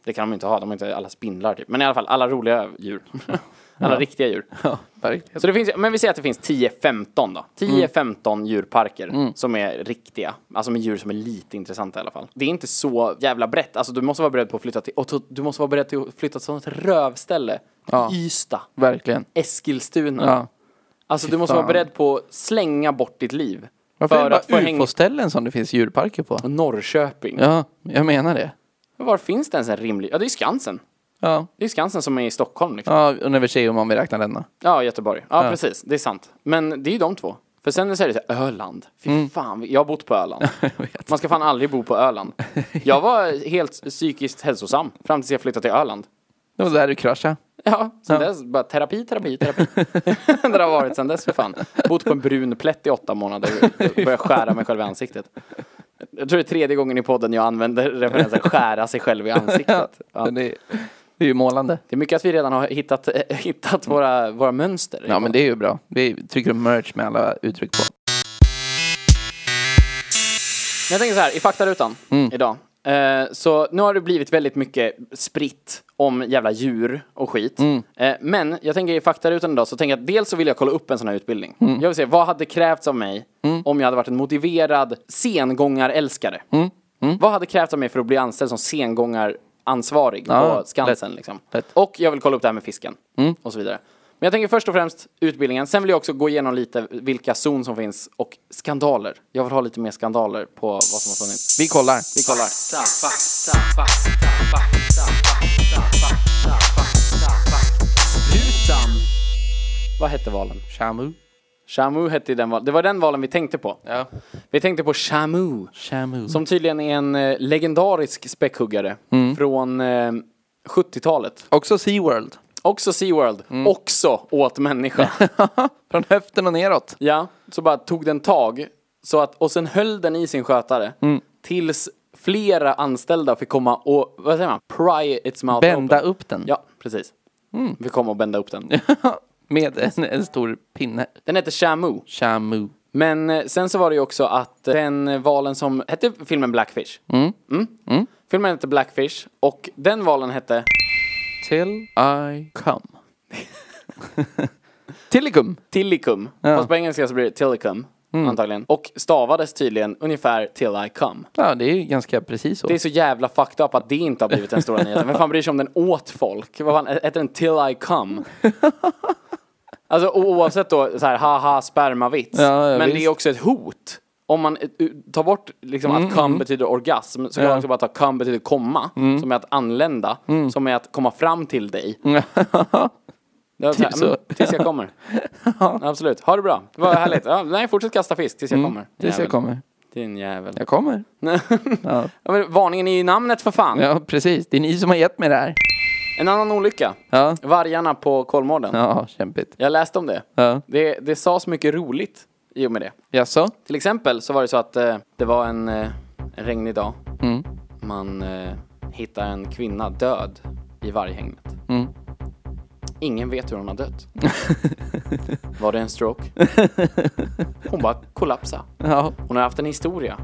[SPEAKER 1] Det kan de inte ha, de har inte alla spindlar typ. Men i alla fall, alla roliga djur. (laughs) alla riktiga djur.
[SPEAKER 2] Ja, verkligen.
[SPEAKER 1] Så det finns, men vi säger att det finns 10-15 då. 10-15
[SPEAKER 2] Mm.
[SPEAKER 1] djurparker som är riktiga. Alltså med djur som är lite intressanta i alla fall. Det är inte så jävla brett. Alltså du måste vara beredd på att flytta till, och to- du måste vara beredd till att flytta till sånt rövställe.
[SPEAKER 2] Ja.
[SPEAKER 1] Ystad,
[SPEAKER 2] Verkligen.
[SPEAKER 1] Eskilstuna.
[SPEAKER 2] Ja.
[SPEAKER 1] Alltså du måste
[SPEAKER 2] fan.
[SPEAKER 1] vara beredd på att slänga bort ditt liv.
[SPEAKER 2] Varför är
[SPEAKER 1] för
[SPEAKER 2] det
[SPEAKER 1] att få
[SPEAKER 2] bara
[SPEAKER 1] hänga
[SPEAKER 2] ufo-ställen som det finns djurparker på?
[SPEAKER 1] Norrköping.
[SPEAKER 2] Ja, jag menar det.
[SPEAKER 1] Var finns det ens en rimlig, ja det är Skansen.
[SPEAKER 2] Ja,
[SPEAKER 1] Det är Skansen som är i Stockholm liksom.
[SPEAKER 2] ja universitet om man vill räkna denna.
[SPEAKER 1] Ja, Göteborg. Ja, precis. Det är sant. Men det är ju de två. För sen så är det så här, Öland. Fy fan, Mm. (laughs) jag har bott på Öland. Man ska fan aldrig bo på Öland. Jag var helt psykiskt hälsosam fram tills jag flyttade till Öland.
[SPEAKER 2] Det var där du kraschade.
[SPEAKER 1] Ja, sen dess bara terapi, terapi, terapi. (laughs) det har varit sen dess för fan. Bott på en brun plätt i åtta månader och börjat skära mig själv i ansiktet. Jag tror det är tredje gången i podden jag använder referensen skära sig själv i ansiktet. (laughs) Ja.
[SPEAKER 2] Men Det, det är ju målande.
[SPEAKER 1] Det är mycket att vi redan har hittat, eh, hittat våra, våra mönster.
[SPEAKER 2] Ja, men det är ju bra. Vi trycker upp merch med alla uttryck på.
[SPEAKER 1] Men jag tänker så här, i faktarutan
[SPEAKER 2] Mm.
[SPEAKER 1] idag. Eh, så nu har det blivit väldigt mycket spritt om jävla djur och skit.
[SPEAKER 2] Mm.
[SPEAKER 1] Eh, men jag tänker i faktarutan idag så tänker jag att dels så vill jag kolla upp en sån här utbildning.
[SPEAKER 2] Mm.
[SPEAKER 1] Jag vill se, vad hade krävts av mig om jag hade varit en motiverad sengångarälskare?
[SPEAKER 2] Mm.
[SPEAKER 1] Vad hade krävts av mig för att bli anställd som sengångaransvarig
[SPEAKER 2] Ja,
[SPEAKER 1] på Skansen?
[SPEAKER 2] lätt.
[SPEAKER 1] Liksom?
[SPEAKER 2] Lätt.
[SPEAKER 1] Och jag vill kolla upp det här med fisken och så vidare. Men jag tänker först och främst utbildningen. Sen vill jag också gå igenom lite vilka zon som finns och skandaler. Jag vill ha lite mer skandaler på vad som har funnits.
[SPEAKER 2] Vi kollar.
[SPEAKER 1] Vi kollar. Vad hette valen?
[SPEAKER 2] Shamu.
[SPEAKER 1] Shamu hette ju den valen. Det var den valen vi tänkte på.
[SPEAKER 2] Ja.
[SPEAKER 1] Vi tänkte på Shamu.
[SPEAKER 2] Shamu.
[SPEAKER 1] Som tydligen är en eh, legendarisk späckhuggare från eh, 70-talet.
[SPEAKER 2] Också SeaWorld.
[SPEAKER 1] Också Seaworld. Också åt (laughs) människa.
[SPEAKER 2] Från höften och neråt.
[SPEAKER 1] Ja, så bara tog den tag. Så att, och sen höll den i sin skötare. Tills flera anställda fick komma och, vad säger man, pry its mouth
[SPEAKER 2] Bända
[SPEAKER 1] open.
[SPEAKER 2] upp den.
[SPEAKER 1] Ja, precis. Vi kom och bända upp den.
[SPEAKER 2] (laughs) Med en, en stor pinne.
[SPEAKER 1] Den hette Shamu.
[SPEAKER 2] Shamu.
[SPEAKER 1] Men eh, sen så var det ju också att eh, den valen som, hette filmen Blackfish? Mm. Filmen hette Blackfish och den valen hette
[SPEAKER 2] Till I come. (laughs) Tillicum.
[SPEAKER 1] Tillicum. Fast på engelska så blir det Tillicum, antagligen. Och stavades tydligen ungefär Till I come.
[SPEAKER 2] Ja, det är ju ganska precis så.
[SPEAKER 1] Det är så jävla fucked up att det inte har blivit den stora nyheten. Vem fan bryr sig om den åt folk? Vad fan, heter den Till I
[SPEAKER 2] (laughs)
[SPEAKER 1] come? Alltså o- oavsett då så här haha spermavits.
[SPEAKER 2] Ja, ja,
[SPEAKER 1] men det
[SPEAKER 2] visst. Mm,
[SPEAKER 1] är också ett hot. Om man eh, u- tar bort liksom att come betyder orgasm så kan man också bara ta come betyder komma.
[SPEAKER 2] Mm.
[SPEAKER 1] Som är att anlända. Som är att komma fram till
[SPEAKER 2] (laughs)
[SPEAKER 1] dig. Det var så här,
[SPEAKER 2] Typ så.
[SPEAKER 1] mm, tills
[SPEAKER 2] (laughs)
[SPEAKER 1] jag kommer. Absolut. Ha det bra. Det var härligt. Ja, nej, fortsätt kasta fisk tills jag kommer.
[SPEAKER 2] Mm. Tills jag
[SPEAKER 1] Jävel.
[SPEAKER 2] kommer.
[SPEAKER 1] Din jävel.
[SPEAKER 2] Jag kommer. (laughs)
[SPEAKER 1] Ja, men varningen är ju i namnet för fan.
[SPEAKER 2] Ja, precis. Det är ni som har gett mig det här.
[SPEAKER 1] En annan olycka.
[SPEAKER 2] Ja.
[SPEAKER 1] Vargarna på Kolmården.
[SPEAKER 2] Ja, kämpigt.
[SPEAKER 1] Jag läste om det.
[SPEAKER 2] Ja.
[SPEAKER 1] det. Det sades mycket roligt i och med det.
[SPEAKER 2] Jaså?
[SPEAKER 1] Till exempel så var det så att eh, det var en, eh, en regnig dag.
[SPEAKER 2] Mm. Mm.
[SPEAKER 1] Man eh, hittar en kvinna död i varghägnet. Ingen vet hur hon
[SPEAKER 2] (laughs)
[SPEAKER 1] har dött. Var det en stroke? Hon bara kollapsade.
[SPEAKER 2] Ja.
[SPEAKER 1] Hon har haft en historia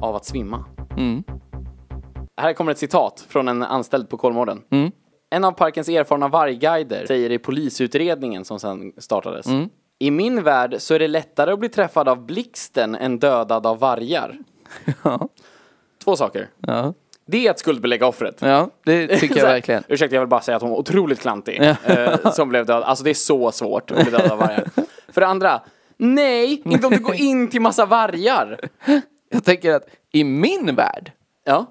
[SPEAKER 1] av att svimma.
[SPEAKER 2] Mm.
[SPEAKER 1] Här kommer ett citat från en anställd på Kolmården.
[SPEAKER 2] Mm.
[SPEAKER 1] En av parkens erfarna vargguider säger i polisutredningen som sen startades.
[SPEAKER 2] Mm.
[SPEAKER 1] I min värld så är det lättare att bli träffad av blixten än dödad av vargar.
[SPEAKER 2] Ja.
[SPEAKER 1] Två saker.
[SPEAKER 2] Ja.
[SPEAKER 1] Det är att skuldbelägga offret.
[SPEAKER 2] ja, det tycker (laughs)
[SPEAKER 1] (laughs) Så
[SPEAKER 2] jag
[SPEAKER 1] här,
[SPEAKER 2] verkligen.
[SPEAKER 1] Ursäkta, jag vill bara säga att hon var otroligt klantig. eh, som blev död. Alltså det är så svårt att bli dödad av vargar. För det andra, nej, inte om du går in till massa vargar.
[SPEAKER 2] Jag tänker att i min värld,
[SPEAKER 1] Ja,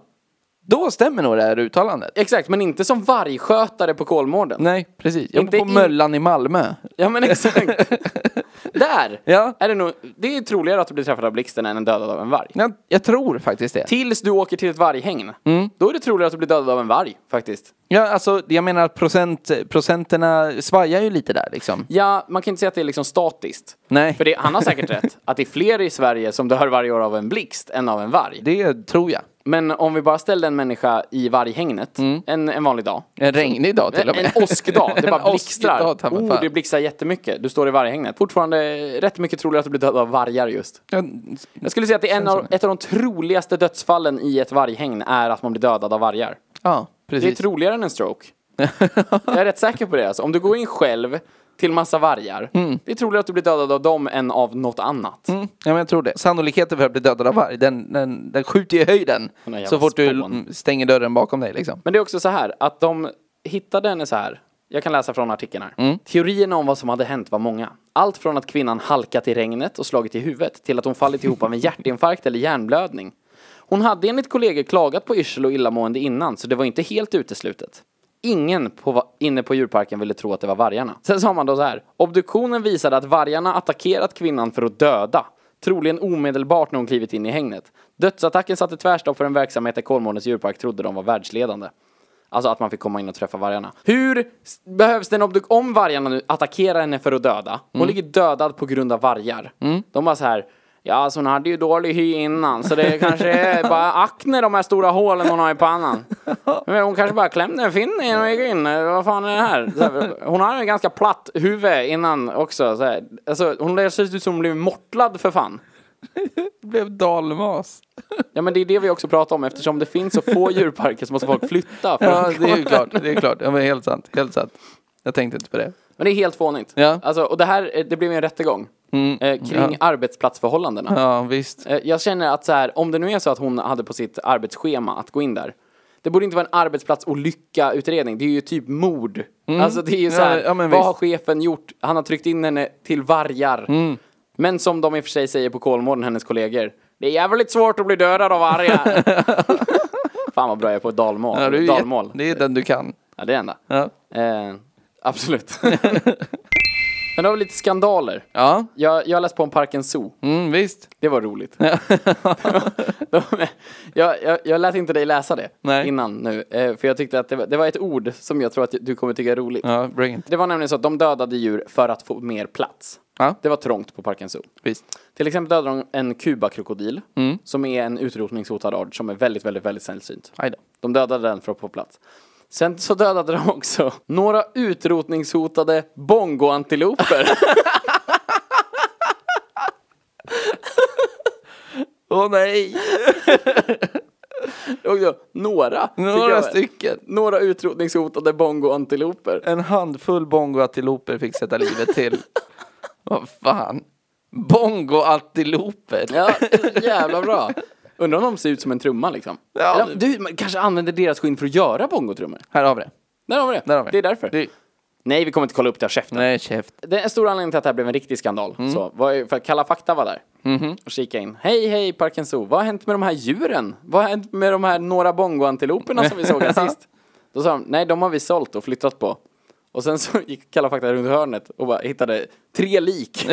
[SPEAKER 2] då stämmer nog det här uttalandet.
[SPEAKER 1] exakt, men inte som vargskötare på Kolmården.
[SPEAKER 2] Nej, precis. Jag
[SPEAKER 1] Inte
[SPEAKER 2] bor på
[SPEAKER 1] i-
[SPEAKER 2] Möllan i Malmö.
[SPEAKER 1] Ja, men exakt. (laughs) Där
[SPEAKER 2] Ja.
[SPEAKER 1] är det nog, det är troligare att du blir träffad av blixten än dödad av en varg.
[SPEAKER 2] Jag, jag tror faktiskt det.
[SPEAKER 1] Tills du åker till ett varghägn.
[SPEAKER 2] Mm.
[SPEAKER 1] Då är det troligare att du blir dödad av en varg, faktiskt.
[SPEAKER 2] Ja, alltså, jag menar att procent, procenterna svajar ju lite där liksom.
[SPEAKER 1] Ja, man kan inte säga att det är liksom statiskt.
[SPEAKER 2] Nej.
[SPEAKER 1] För det, han har
[SPEAKER 2] (laughs)
[SPEAKER 1] säkert rätt, att det är fler i Sverige som dör varje år av en blixt än av en varg.
[SPEAKER 2] Det tror jag.
[SPEAKER 1] Men om vi bara ställde en människa i varghägnet en, en vanlig dag.
[SPEAKER 2] En regnig dag Mm. till
[SPEAKER 1] En,
[SPEAKER 2] och med.
[SPEAKER 1] en åskdag, det
[SPEAKER 2] En
[SPEAKER 1] bara blixtrar.
[SPEAKER 2] åskdag, ta mig
[SPEAKER 1] Oh,
[SPEAKER 2] fan.
[SPEAKER 1] det blixtrar jättemycket. Du står i varghägnet. Fortfarande rätt mycket troligare att du blir dödad av vargar just.
[SPEAKER 2] (laughs) Ja,
[SPEAKER 1] Jag skulle säga att det är en av,
[SPEAKER 2] som
[SPEAKER 1] ett av de troligaste dödsfallen i ett varghägn är att man blir dödad av vargar.
[SPEAKER 2] Ja,
[SPEAKER 1] Det är
[SPEAKER 2] precis.
[SPEAKER 1] troligare än en stroke. Jag är rätt säker på det alltså. Om du går in själv till massa vargar, det är troligare att du blir dödad av dem än av något annat.
[SPEAKER 2] Mm, ja, men jag tror det. Sannolikheten för att bli dödad av varg, den, den, den skjuter i höjden.
[SPEAKER 1] Den där
[SPEAKER 2] Så
[SPEAKER 1] jävla
[SPEAKER 2] fort du
[SPEAKER 1] spån.
[SPEAKER 2] mm, stänger dörren bakom dig liksom.
[SPEAKER 1] Men det är också så här att de hittade henne så här. Jag kan läsa från artikeln här.
[SPEAKER 2] Mm.
[SPEAKER 1] Teorierna om vad som hade hänt var många. Allt från att kvinnan halkat i regnet och slagit i huvudet till att hon fallit ihop av en hjärtinfarkt eller hjärnblödning. Hon hade enligt kollegor klagat på yrsel och illamående innan så det var inte helt uteslutet. Ingen på, va- inne på djurparken ville tro att det var vargarna. Sen sa man då så här. Obduktionen visade att vargarna attackerat kvinnan för att döda. Troligen omedelbart när hon klivit in i hägnet. Dödsattacken satte tvärstopp för en verksamhet där Kolmårdens djurpark trodde de var världsledande. Alltså att man fick komma in och träffa vargarna. Hur s- behövs det en obduk... Om vargarna nu attackerar henne för att döda. Hon ligger dödad på grund av vargar. De bara så här. Ja, alltså hon hade ju dålig hy innan, så det kanske är bara akne Eh, de här stora hålen hon har
[SPEAKER 2] (laughs)
[SPEAKER 1] i pannan. Men hon kanske bara klämde en finne innan hon gick in. Eh, Vad fan är det här? Så här hon hade en ganska platt huvud innan också. Så här. Alltså, hon ser ut som hon blev mortlad för fan.
[SPEAKER 2] Det blev dalmas.
[SPEAKER 1] Ja, men det är det vi också pratar om. Eftersom det finns så få djurparker så måste folk flytta. För
[SPEAKER 2] Ja, det är ju klart. Det är klart. Ja, men helt sant. Helt sant. Jag tänkte inte på det.
[SPEAKER 1] Men det är helt fånigt.
[SPEAKER 2] Ja. Mm.
[SPEAKER 1] Alltså, och det här, eh, det blev ju en rättegång. Eh, kring arbetsplatsförhållandena.
[SPEAKER 2] Ja, visst.
[SPEAKER 1] Eh, Jag känner att så här, om det nu är så att hon hade på sitt arbetsschema att gå in där. Det borde inte vara en arbetsplatsolycka-utredning. Det är ju typ mord. Alltså det är ju så
[SPEAKER 2] Mm. Ja,
[SPEAKER 1] här,
[SPEAKER 2] ja, men
[SPEAKER 1] vad
[SPEAKER 2] visst.
[SPEAKER 1] har chefen gjort? Han har tryckt in henne till vargar.
[SPEAKER 2] Mm.
[SPEAKER 1] Men som de i och för sig säger på Kolmården, hennes kollegor. Det är jävligt svårt att bli dödad
[SPEAKER 2] (laughs)
[SPEAKER 1] av vargar. Fan vad bra jag är på dalmål.
[SPEAKER 2] Ja, det, är ju
[SPEAKER 1] dalmål.
[SPEAKER 2] jätte- det är den du kan.
[SPEAKER 1] Ja, det är det enda.
[SPEAKER 2] Ja.
[SPEAKER 1] Eh,
[SPEAKER 2] (laughs)
[SPEAKER 1] absolut. Men då har vi lite skandaler.
[SPEAKER 2] Ja,
[SPEAKER 1] Jag, jag har läst på om Parken Zoo.
[SPEAKER 2] mm, visst.
[SPEAKER 1] Det var roligt. (laughs) jag, jag, jag lät inte dig läsa det
[SPEAKER 2] Nej.
[SPEAKER 1] innan nu, eh, för jag tyckte att det var, det var ett ord som jag tror att du kommer tycka är roligt.
[SPEAKER 2] Ja, bring it.
[SPEAKER 1] Det var nämligen så att de dödade djur för att få mer plats.
[SPEAKER 2] Ja.
[SPEAKER 1] Det var trångt på Parken Zoo.
[SPEAKER 2] Visst.
[SPEAKER 1] Till exempel dödade de en kubakrokodil,
[SPEAKER 2] Mm.
[SPEAKER 1] som är en utrotningshotad art som är väldigt, väldigt, väldigt sällsynt.
[SPEAKER 2] Aj då.
[SPEAKER 1] De dödade den för att få plats. Sen så dödade de också några utrotningshotade
[SPEAKER 2] (laughs)
[SPEAKER 1] bongoantiloper.
[SPEAKER 2] Åh nej!
[SPEAKER 1] Och då, några. tycker
[SPEAKER 2] Några
[SPEAKER 1] jag.
[SPEAKER 2] stycken.
[SPEAKER 1] Några utrotningshotade bongoantiloper.
[SPEAKER 2] En handfull bongoantiloper fick sätta livet
[SPEAKER 1] (laughs)
[SPEAKER 2] till. Vad fan. Bongoantiloper.
[SPEAKER 1] Ja, jävla bra. Undrar om de ser ut som en trumma liksom.
[SPEAKER 2] Ja.
[SPEAKER 1] Eller, du man kanske använder deras skinn för att göra bongotrummor.
[SPEAKER 2] Här har vi det.
[SPEAKER 1] Där har vi det.
[SPEAKER 2] Där har vi
[SPEAKER 1] Det är därför.
[SPEAKER 2] Det-
[SPEAKER 1] Nej, vi kommer inte kolla upp det av käften.
[SPEAKER 2] Nej, käft.
[SPEAKER 1] Det är en stor anledning till att det här blev en riktig skandal.
[SPEAKER 2] Mm.
[SPEAKER 1] Så, var ju för att Kalla fakta var där.
[SPEAKER 2] Mhm.
[SPEAKER 1] Och kika in. Hej, hej Parken Zoo. Vad har hänt med de här djuren? Vad har hänt med de här några bongoantiloperna som vi
[SPEAKER 2] (laughs)
[SPEAKER 1] såg här sist? Då sa de, nej de har vi sålt och flyttat på. Och sen så gick Kalla fakta runt hörnet och bara hittade
[SPEAKER 2] (laughs)
[SPEAKER 1] tre lik.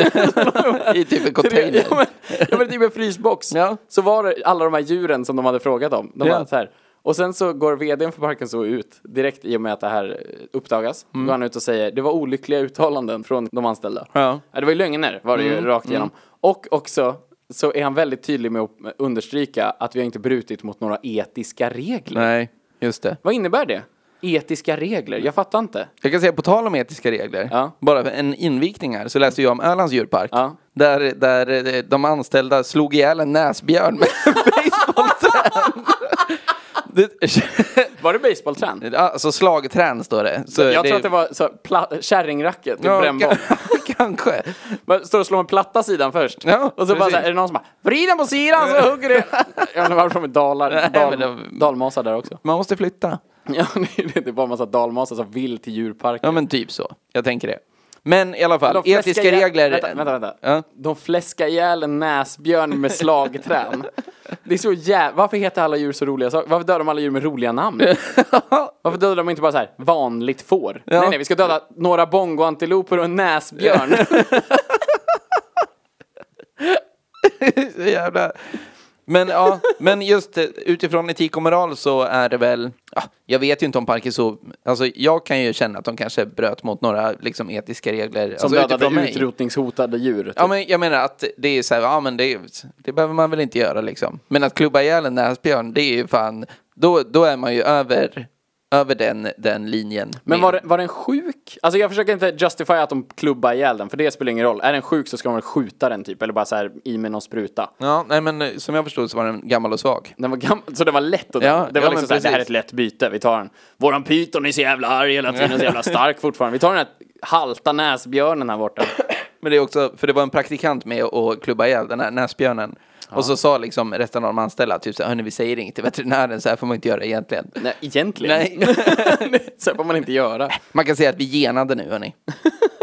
[SPEAKER 2] I typ en
[SPEAKER 1] (laughs) Tre- Ja
[SPEAKER 2] container.
[SPEAKER 1] men, ja, men typ en frysbox.
[SPEAKER 2] Ja.
[SPEAKER 1] Så var det alla de här djuren som de hade frågat om. De
[SPEAKER 2] Ja.
[SPEAKER 1] var så här. Och sen så går vdn för parken så ut direkt i och med att det här eh, uppdagas.
[SPEAKER 2] Mm.
[SPEAKER 1] Då går han ut och säger det var olyckliga uttalanden från de anställda.
[SPEAKER 2] Ja. Mm.
[SPEAKER 1] det var ju lögner var det ju rakt igenom. Och också så är han väldigt tydlig med att understryka att vi har inte brutit mot några etiska regler.
[SPEAKER 2] Nej, just det.
[SPEAKER 1] Vad innebär det? Etiska regler, jag fattar inte.
[SPEAKER 2] Jag kan säga på tal om etiska regler,
[SPEAKER 1] Ja.
[SPEAKER 2] bara en invikning här, så läste jag om Ölands djurpark.
[SPEAKER 1] Ja.
[SPEAKER 2] Där, där eh, de anställda slog ihjäl en näsbjörn med (laughs) basebollträn. Det-
[SPEAKER 1] Var det baseballträn?
[SPEAKER 2] Alltså slagträn står det. Så
[SPEAKER 1] Jag tror att det var så här, pla- kärringracket,
[SPEAKER 2] Ja,
[SPEAKER 1] ja, brännboll.
[SPEAKER 2] ka- (laughs) Kanske.
[SPEAKER 1] (laughs) Man står och slår med platta sidan först.
[SPEAKER 2] Ja,
[SPEAKER 1] och så bara
[SPEAKER 2] precis.
[SPEAKER 1] så här, är det någon som bara vrid den på sidan så hugger det. Jag undrar varför de är dalar,
[SPEAKER 2] Nej, men
[SPEAKER 1] dal,
[SPEAKER 2] de-
[SPEAKER 1] dalmasar där också.
[SPEAKER 2] Man måste flytta.
[SPEAKER 1] (laughs) Ja, det är- det är bara en massa dalmasar som vill till djurparken.
[SPEAKER 2] Ja men typ så. Jag tänker det. Men i alla fall,
[SPEAKER 1] De fläskar
[SPEAKER 2] etiska
[SPEAKER 1] ihjäl-
[SPEAKER 2] regler.
[SPEAKER 1] Vänta, vänta. vänta.
[SPEAKER 2] Ja.
[SPEAKER 1] De fläskar ihjäl en näsbjörn med (laughs) slagträn. Det är så jävla... Varför heter alla djur så roliga saker? Varför dödar de alla djur med roliga (laughs) namn? Varför dödar de inte bara så här vanligt får? Nej, nej, vi ska döda några bongoantiloper och en (laughs) näsbjörn.
[SPEAKER 2] (laughs) Så jävla... Men ja, men just eh, utifrån etik och moral så är det väl, ja, jag vet ju inte om parken så, alltså jag kan ju känna att de kanske bröt mot några liksom etiska regler.
[SPEAKER 1] Som
[SPEAKER 2] alltså, utifrån
[SPEAKER 1] dödade
[SPEAKER 2] mig.
[SPEAKER 1] utrotningshotade djur. typ.
[SPEAKER 2] Ja men jag menar att det är så här, ja men det, det behöver man väl inte göra liksom. Men att klubba ihjäl en näsbjörn, det är ju fan, då, då är man ju över, över den, den linjen. med-
[SPEAKER 1] Men var, det- var den sjuk? Alltså jag försöker inte justifiera att de klubbar ihjäl den, för det spelar ingen roll. Är den sjuk så ska man väl skjuta den typ, eller bara så här i med någon spruta.
[SPEAKER 2] Ja, nej men eh, som jag förstod så var den gammal och svag.
[SPEAKER 1] Den var gammal, så den var lätt att
[SPEAKER 2] Ja,
[SPEAKER 1] döda. Det
[SPEAKER 2] ja,
[SPEAKER 1] var
[SPEAKER 2] men
[SPEAKER 1] liksom såhär, det här är
[SPEAKER 2] precis.
[SPEAKER 1] ett lätt byte, vi tar den. Våran pyton är så jävla arg hela tiden, och så jävla stark fortfarande. Vi tar den här halta näsbjörnen här borta.
[SPEAKER 2] Men det är också, för det var en praktikant med och klubba ihjäl den här näsbjörnen. Och så sa liksom resten av de anställda typ så här, hörni vi säger inget till veterinären, så här får man inte göra egentligen.
[SPEAKER 1] Nej, egentligen.
[SPEAKER 2] Nej.
[SPEAKER 1] (laughs) så här får man inte göra.
[SPEAKER 2] Man kan säga att vi genade nu hörni.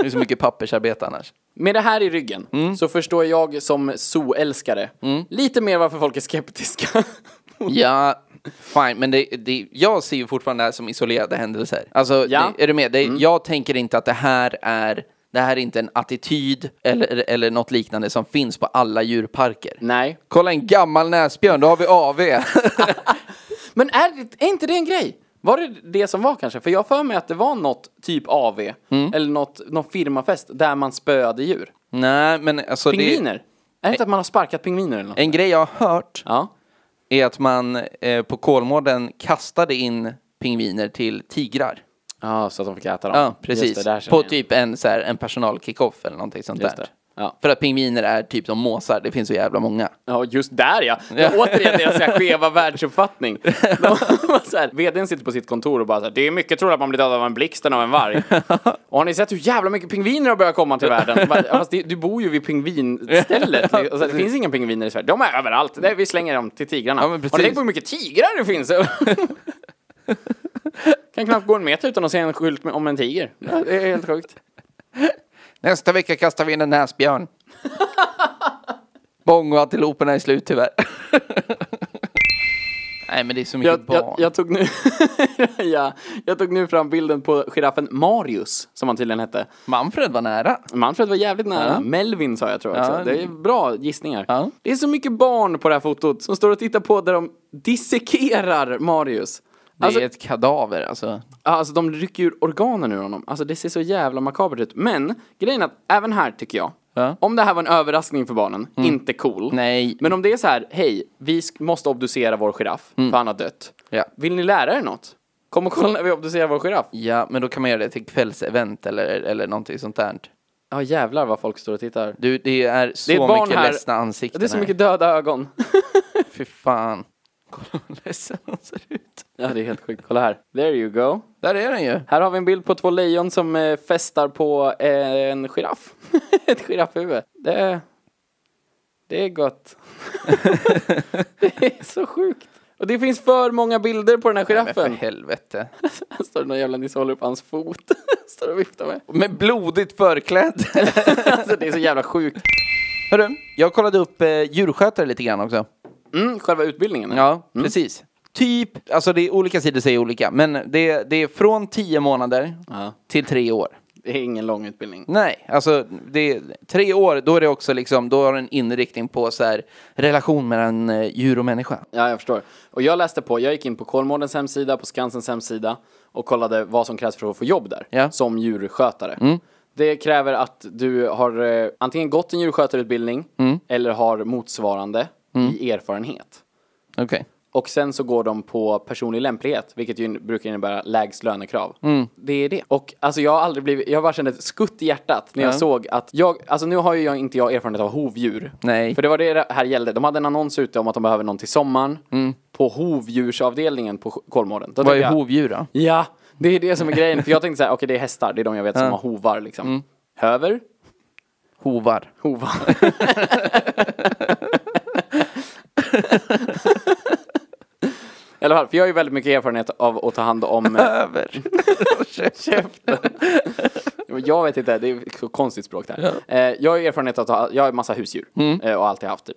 [SPEAKER 2] Det är så mycket pappersarbete
[SPEAKER 1] (laughs)
[SPEAKER 2] annars.
[SPEAKER 1] Med det här i ryggen
[SPEAKER 2] Mm.
[SPEAKER 1] så förstår jag som zooälskare lite mer varför folk är skeptiska. (laughs)
[SPEAKER 2] Ja, fine, men det, det, jag ser ju fortfarande det här som isolerade händelser. Alltså,
[SPEAKER 1] Ja. Mm.
[SPEAKER 2] det, är du med? Det, Jag tänker inte att det här är det här är inte en attityd eller, eller något liknande som finns på alla djurparker.
[SPEAKER 1] Nej.
[SPEAKER 2] Kolla en gammal näsbjörn, då har vi AV.
[SPEAKER 1] Men är, det- är inte det en grej? Var det det som var kanske? För jag har för mig att det var något typ AV
[SPEAKER 2] Mm.
[SPEAKER 1] eller något, någon firmafest där man spöade djur.
[SPEAKER 2] (laughs) Nej, men alltså
[SPEAKER 1] Pingviner?
[SPEAKER 2] det... Eh.
[SPEAKER 1] Är det inte att man har sparkat pingviner eller något?
[SPEAKER 2] En grej jag har hört
[SPEAKER 1] Ja.
[SPEAKER 2] är att man eh, på Kolmården kastade in pingviner till tigrar.
[SPEAKER 1] Ja, så att de fick äta dem.
[SPEAKER 2] Ja, precis.
[SPEAKER 1] Just det, där känner
[SPEAKER 2] på
[SPEAKER 1] jag.
[SPEAKER 2] typ en, så här, en personalkick-off eller någonting sånt
[SPEAKER 1] Just
[SPEAKER 2] där.
[SPEAKER 1] det. Ja.
[SPEAKER 2] För att pingviner är typ som måsar, det finns så jävla många.
[SPEAKER 1] Ja, just där ja! ja. Återigen deras så
[SPEAKER 2] (laughs)
[SPEAKER 1] här skeva världsuppfattning. De, var så här, vdn sitter på sitt kontor och bara så här, det är mycket troligt att man blir dödad av en blixt än av
[SPEAKER 2] (laughs)
[SPEAKER 1] en varg. och har ni sett hur jävla mycket pingviner har börjat komma till världen? Bara, Fast det, du bor ju vid
[SPEAKER 2] (laughs)
[SPEAKER 1] pingvinstället. Alltså, det finns inga pingviner i Sverige. De är överallt. Nej, vi slänger dem till tigrarna.
[SPEAKER 2] Ja, men
[SPEAKER 1] har ni
[SPEAKER 2] precis.
[SPEAKER 1] tänkt på hur mycket tigrar
[SPEAKER 2] (laughs)
[SPEAKER 1] det finns? (laughs) kan knappt gå en meter utan att se en skylt med, om en tiger. Ja, Det är helt sjukt.
[SPEAKER 2] Nästa vecka kastar vi in en näsbjörn. (laughs) Bongoantiloperna är slut tyvärr. (laughs) Nej men det är så mycket
[SPEAKER 1] jag,
[SPEAKER 2] barn.
[SPEAKER 1] jag, jag, tog nu (laughs) ja, jag tog nu fram bilden på giraffen Marius, som han tydligen hette.
[SPEAKER 2] Manfred var nära.
[SPEAKER 1] Manfred var jävligt nära.
[SPEAKER 2] Ja.
[SPEAKER 1] Melvin sa jag tror jag också.
[SPEAKER 2] Ja.
[SPEAKER 1] Det är bra gissningar.
[SPEAKER 2] Ja.
[SPEAKER 1] Det är så mycket barn på det här fotot som står och tittar på där de dissekerar Marius.
[SPEAKER 2] Det
[SPEAKER 1] Alltså,
[SPEAKER 2] är ett kadaver alltså.
[SPEAKER 1] alltså de rycker ur organen ur honom. Alltså det ser så jävla makabert ut. Men grejen är att även här tycker jag,
[SPEAKER 2] Ja. Mm.
[SPEAKER 1] om det här var en överraskning för barnen, inte cool.
[SPEAKER 2] Nej.
[SPEAKER 1] Men om det är så här, hej, vi sk- måste obducera vår giraff,
[SPEAKER 2] Mm.
[SPEAKER 1] för han har dött.
[SPEAKER 2] Ja.
[SPEAKER 1] Vill ni lära er något? Kom och kolla när vi obducerar vår giraff.
[SPEAKER 2] Ja, men då kan man göra det till kvällsevent eller, eller någonting sånt där.
[SPEAKER 1] Ja jävlar vad folk står och tittar.
[SPEAKER 2] Du, det är så
[SPEAKER 1] Det är ett barn
[SPEAKER 2] mycket
[SPEAKER 1] här.
[SPEAKER 2] ledsna ansikten
[SPEAKER 1] Det är så
[SPEAKER 2] här.
[SPEAKER 1] mycket döda ögon.
[SPEAKER 2] Fy fan. Kolla hur ledsen han ser ut.
[SPEAKER 1] (laughs) ja det är helt sjukt. Kolla här. There you go.
[SPEAKER 2] Där är den ju.
[SPEAKER 1] Här har vi en bild på två lejon som eh, festar på eh, en giraff. (laughs) Ett giraffhuvud. Det är, det är gott. (laughs) det är så sjukt. Och det finns för många bilder på den här
[SPEAKER 2] Men för
[SPEAKER 1] giraffen.
[SPEAKER 2] helvete.
[SPEAKER 1] Här står det någon jävla nisse och håller upp hans fot. (laughs) står och viftar med.
[SPEAKER 2] Med blodigt förklädd.
[SPEAKER 1] Alltså det är så jävla sjukt.
[SPEAKER 2] (laughs) Hörru, jag kollade upp eh, djurskötare lite grann också.
[SPEAKER 1] Mm, själva utbildningen? eller?
[SPEAKER 2] Ja, mm. precis. Typ, alltså det är olika sidor säger olika, men det, det är från 10 månader
[SPEAKER 1] Ja.
[SPEAKER 2] till 3 år.
[SPEAKER 1] Det är ingen lång utbildning.
[SPEAKER 2] Nej, alltså det är 3 år, då är det också liksom, då har den inriktning på så här relation mellan eh, djur och människa.
[SPEAKER 1] Ja, jag förstår. Och jag läste på, jag gick in på Kolmårdens hemsida, på Skansens hemsida och kollade vad som krävs för att få jobb där,
[SPEAKER 2] Ja. Mm.
[SPEAKER 1] som djurskötare. Det kräver att du har eh, antingen gått
[SPEAKER 2] Mm.
[SPEAKER 1] en djurskötarutbildning eller har motsvarande i erfarenhet.
[SPEAKER 2] Okej.
[SPEAKER 1] Och sen så går de på personlig lämplighet, vilket ju brukar innebära lägst lönekrav.
[SPEAKER 2] Mm.
[SPEAKER 1] Det är det. Och alltså jag har aldrig blivit, jag bara kände ett skutt i hjärtat när jag
[SPEAKER 2] Ja.
[SPEAKER 1] såg att jag, alltså nu har ju jag, inte jag erfarenhet av hovdjur.
[SPEAKER 2] Nej.
[SPEAKER 1] För det var det det här gällde. De hade en annons ute om att de behöver någon till sommaren. På hovdjursavdelningen på Kolmården. Då
[SPEAKER 2] Mm. Vad
[SPEAKER 1] tänkte
[SPEAKER 2] är
[SPEAKER 1] jag,
[SPEAKER 2] hovdjur då?
[SPEAKER 1] Ja, det är det som är grejen. För jag tänkte så här, okej det är hästar, det är de jag vet som har hovar liksom. Höver,
[SPEAKER 2] Mm. Hovar.
[SPEAKER 1] hovar. (laughs) I alla fall, för jag har ju väldigt mycket erfarenhet av att ta hand
[SPEAKER 2] (laughs)
[SPEAKER 1] om, eh,
[SPEAKER 2] Över.
[SPEAKER 1] jag vet inte, det är ett så konstigt språk där. Eh, Jag har ju erfarenhet av att ta, jag har en massa husdjur eh, och har alltid haft typ.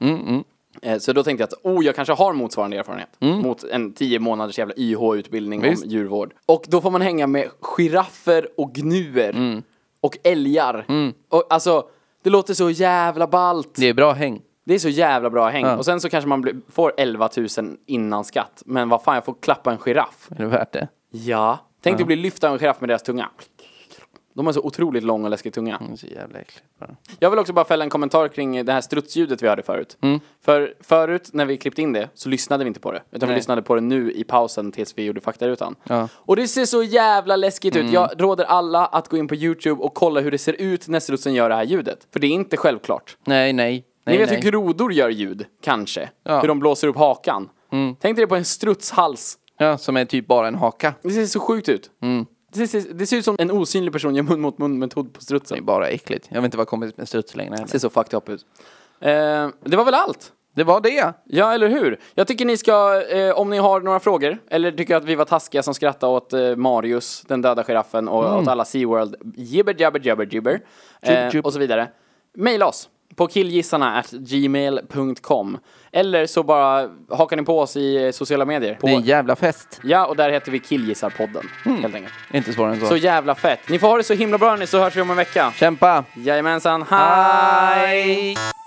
[SPEAKER 1] Eh, Så då tänkte jag att, oh, jag kanske har motsvarande erfarenhet. Mot en tio månaders jävla YH-utbildning om
[SPEAKER 2] Visst.
[SPEAKER 1] djurvård. Och då får man hänga med giraffer och gnuer. Och älgar. Och alltså, det låter så jävla ballt.
[SPEAKER 2] Det är bra häng.
[SPEAKER 1] Det är så jävla bra häng. Och sen så kanske man blir, får 11 000 innan skatt. Men vad fan, jag får klappa en giraff.
[SPEAKER 2] Är det värt det?
[SPEAKER 1] Ja. Tänk dig bli lyft av en giraff med deras tunga. De har så otroligt lång och läskig tunga.
[SPEAKER 2] Det är så jävla äckligt bara.
[SPEAKER 1] Jag vill också bara fälla en kommentar kring det här strutsljudet vi hörde förut. För förut när vi klippte in det så lyssnade vi inte på det. Utan vi
[SPEAKER 2] Nej.
[SPEAKER 1] lyssnade på det nu i pausen tills vi gjorde faktarutan.
[SPEAKER 2] Ja.
[SPEAKER 1] Och det ser så jävla läskigt ut. Jag råder alla att gå in på YouTube och kolla hur det ser ut när strutsen gör det här ljudet. För det är inte självklart.
[SPEAKER 2] Nej, nej. nej
[SPEAKER 1] Ni vet
[SPEAKER 2] nej.
[SPEAKER 1] hur grodor gör ljud, kanske?
[SPEAKER 2] Ja.
[SPEAKER 1] Hur de blåser upp hakan. Tänk dig det på en strutshals.
[SPEAKER 2] Ja, som är typ bara en haka.
[SPEAKER 1] Det ser så sjukt ut. Det, ser, det ser ut som en osynlig person gör mun mot mun-metod på
[SPEAKER 2] Det är
[SPEAKER 1] strutsen.
[SPEAKER 2] bara äckligt. Jag vill inte vara kompis med struts längre
[SPEAKER 1] Det ser
[SPEAKER 2] heller.
[SPEAKER 1] så fucked up ut. Eh, det var väl allt?
[SPEAKER 2] Det var det!
[SPEAKER 1] Ja, eller hur? Jag tycker ni ska, eh, om ni har några frågor, eller tycker att vi var taskiga som skrattade åt eh, Marius, den döda giraffen, och åt alla SeaWorld, jibber jabber jabber Mm. jibber, eh,
[SPEAKER 2] jib.
[SPEAKER 1] och så vidare. Maila oss på killgissarna at gmail.com. Eller så bara hakar ni på oss i eh, sociala medier.
[SPEAKER 2] Det är en
[SPEAKER 1] På, Mm.
[SPEAKER 2] jävla fest.
[SPEAKER 1] ja, och där heter vi Killgissarpodden, helt enkelt.
[SPEAKER 2] Inte svårare än så.
[SPEAKER 1] Så jävla fett. Ni får ha det så himla bra ni så hörs vi om en vecka.
[SPEAKER 2] Kämpa!
[SPEAKER 1] Jajamensan, hej!
[SPEAKER 2] Hej!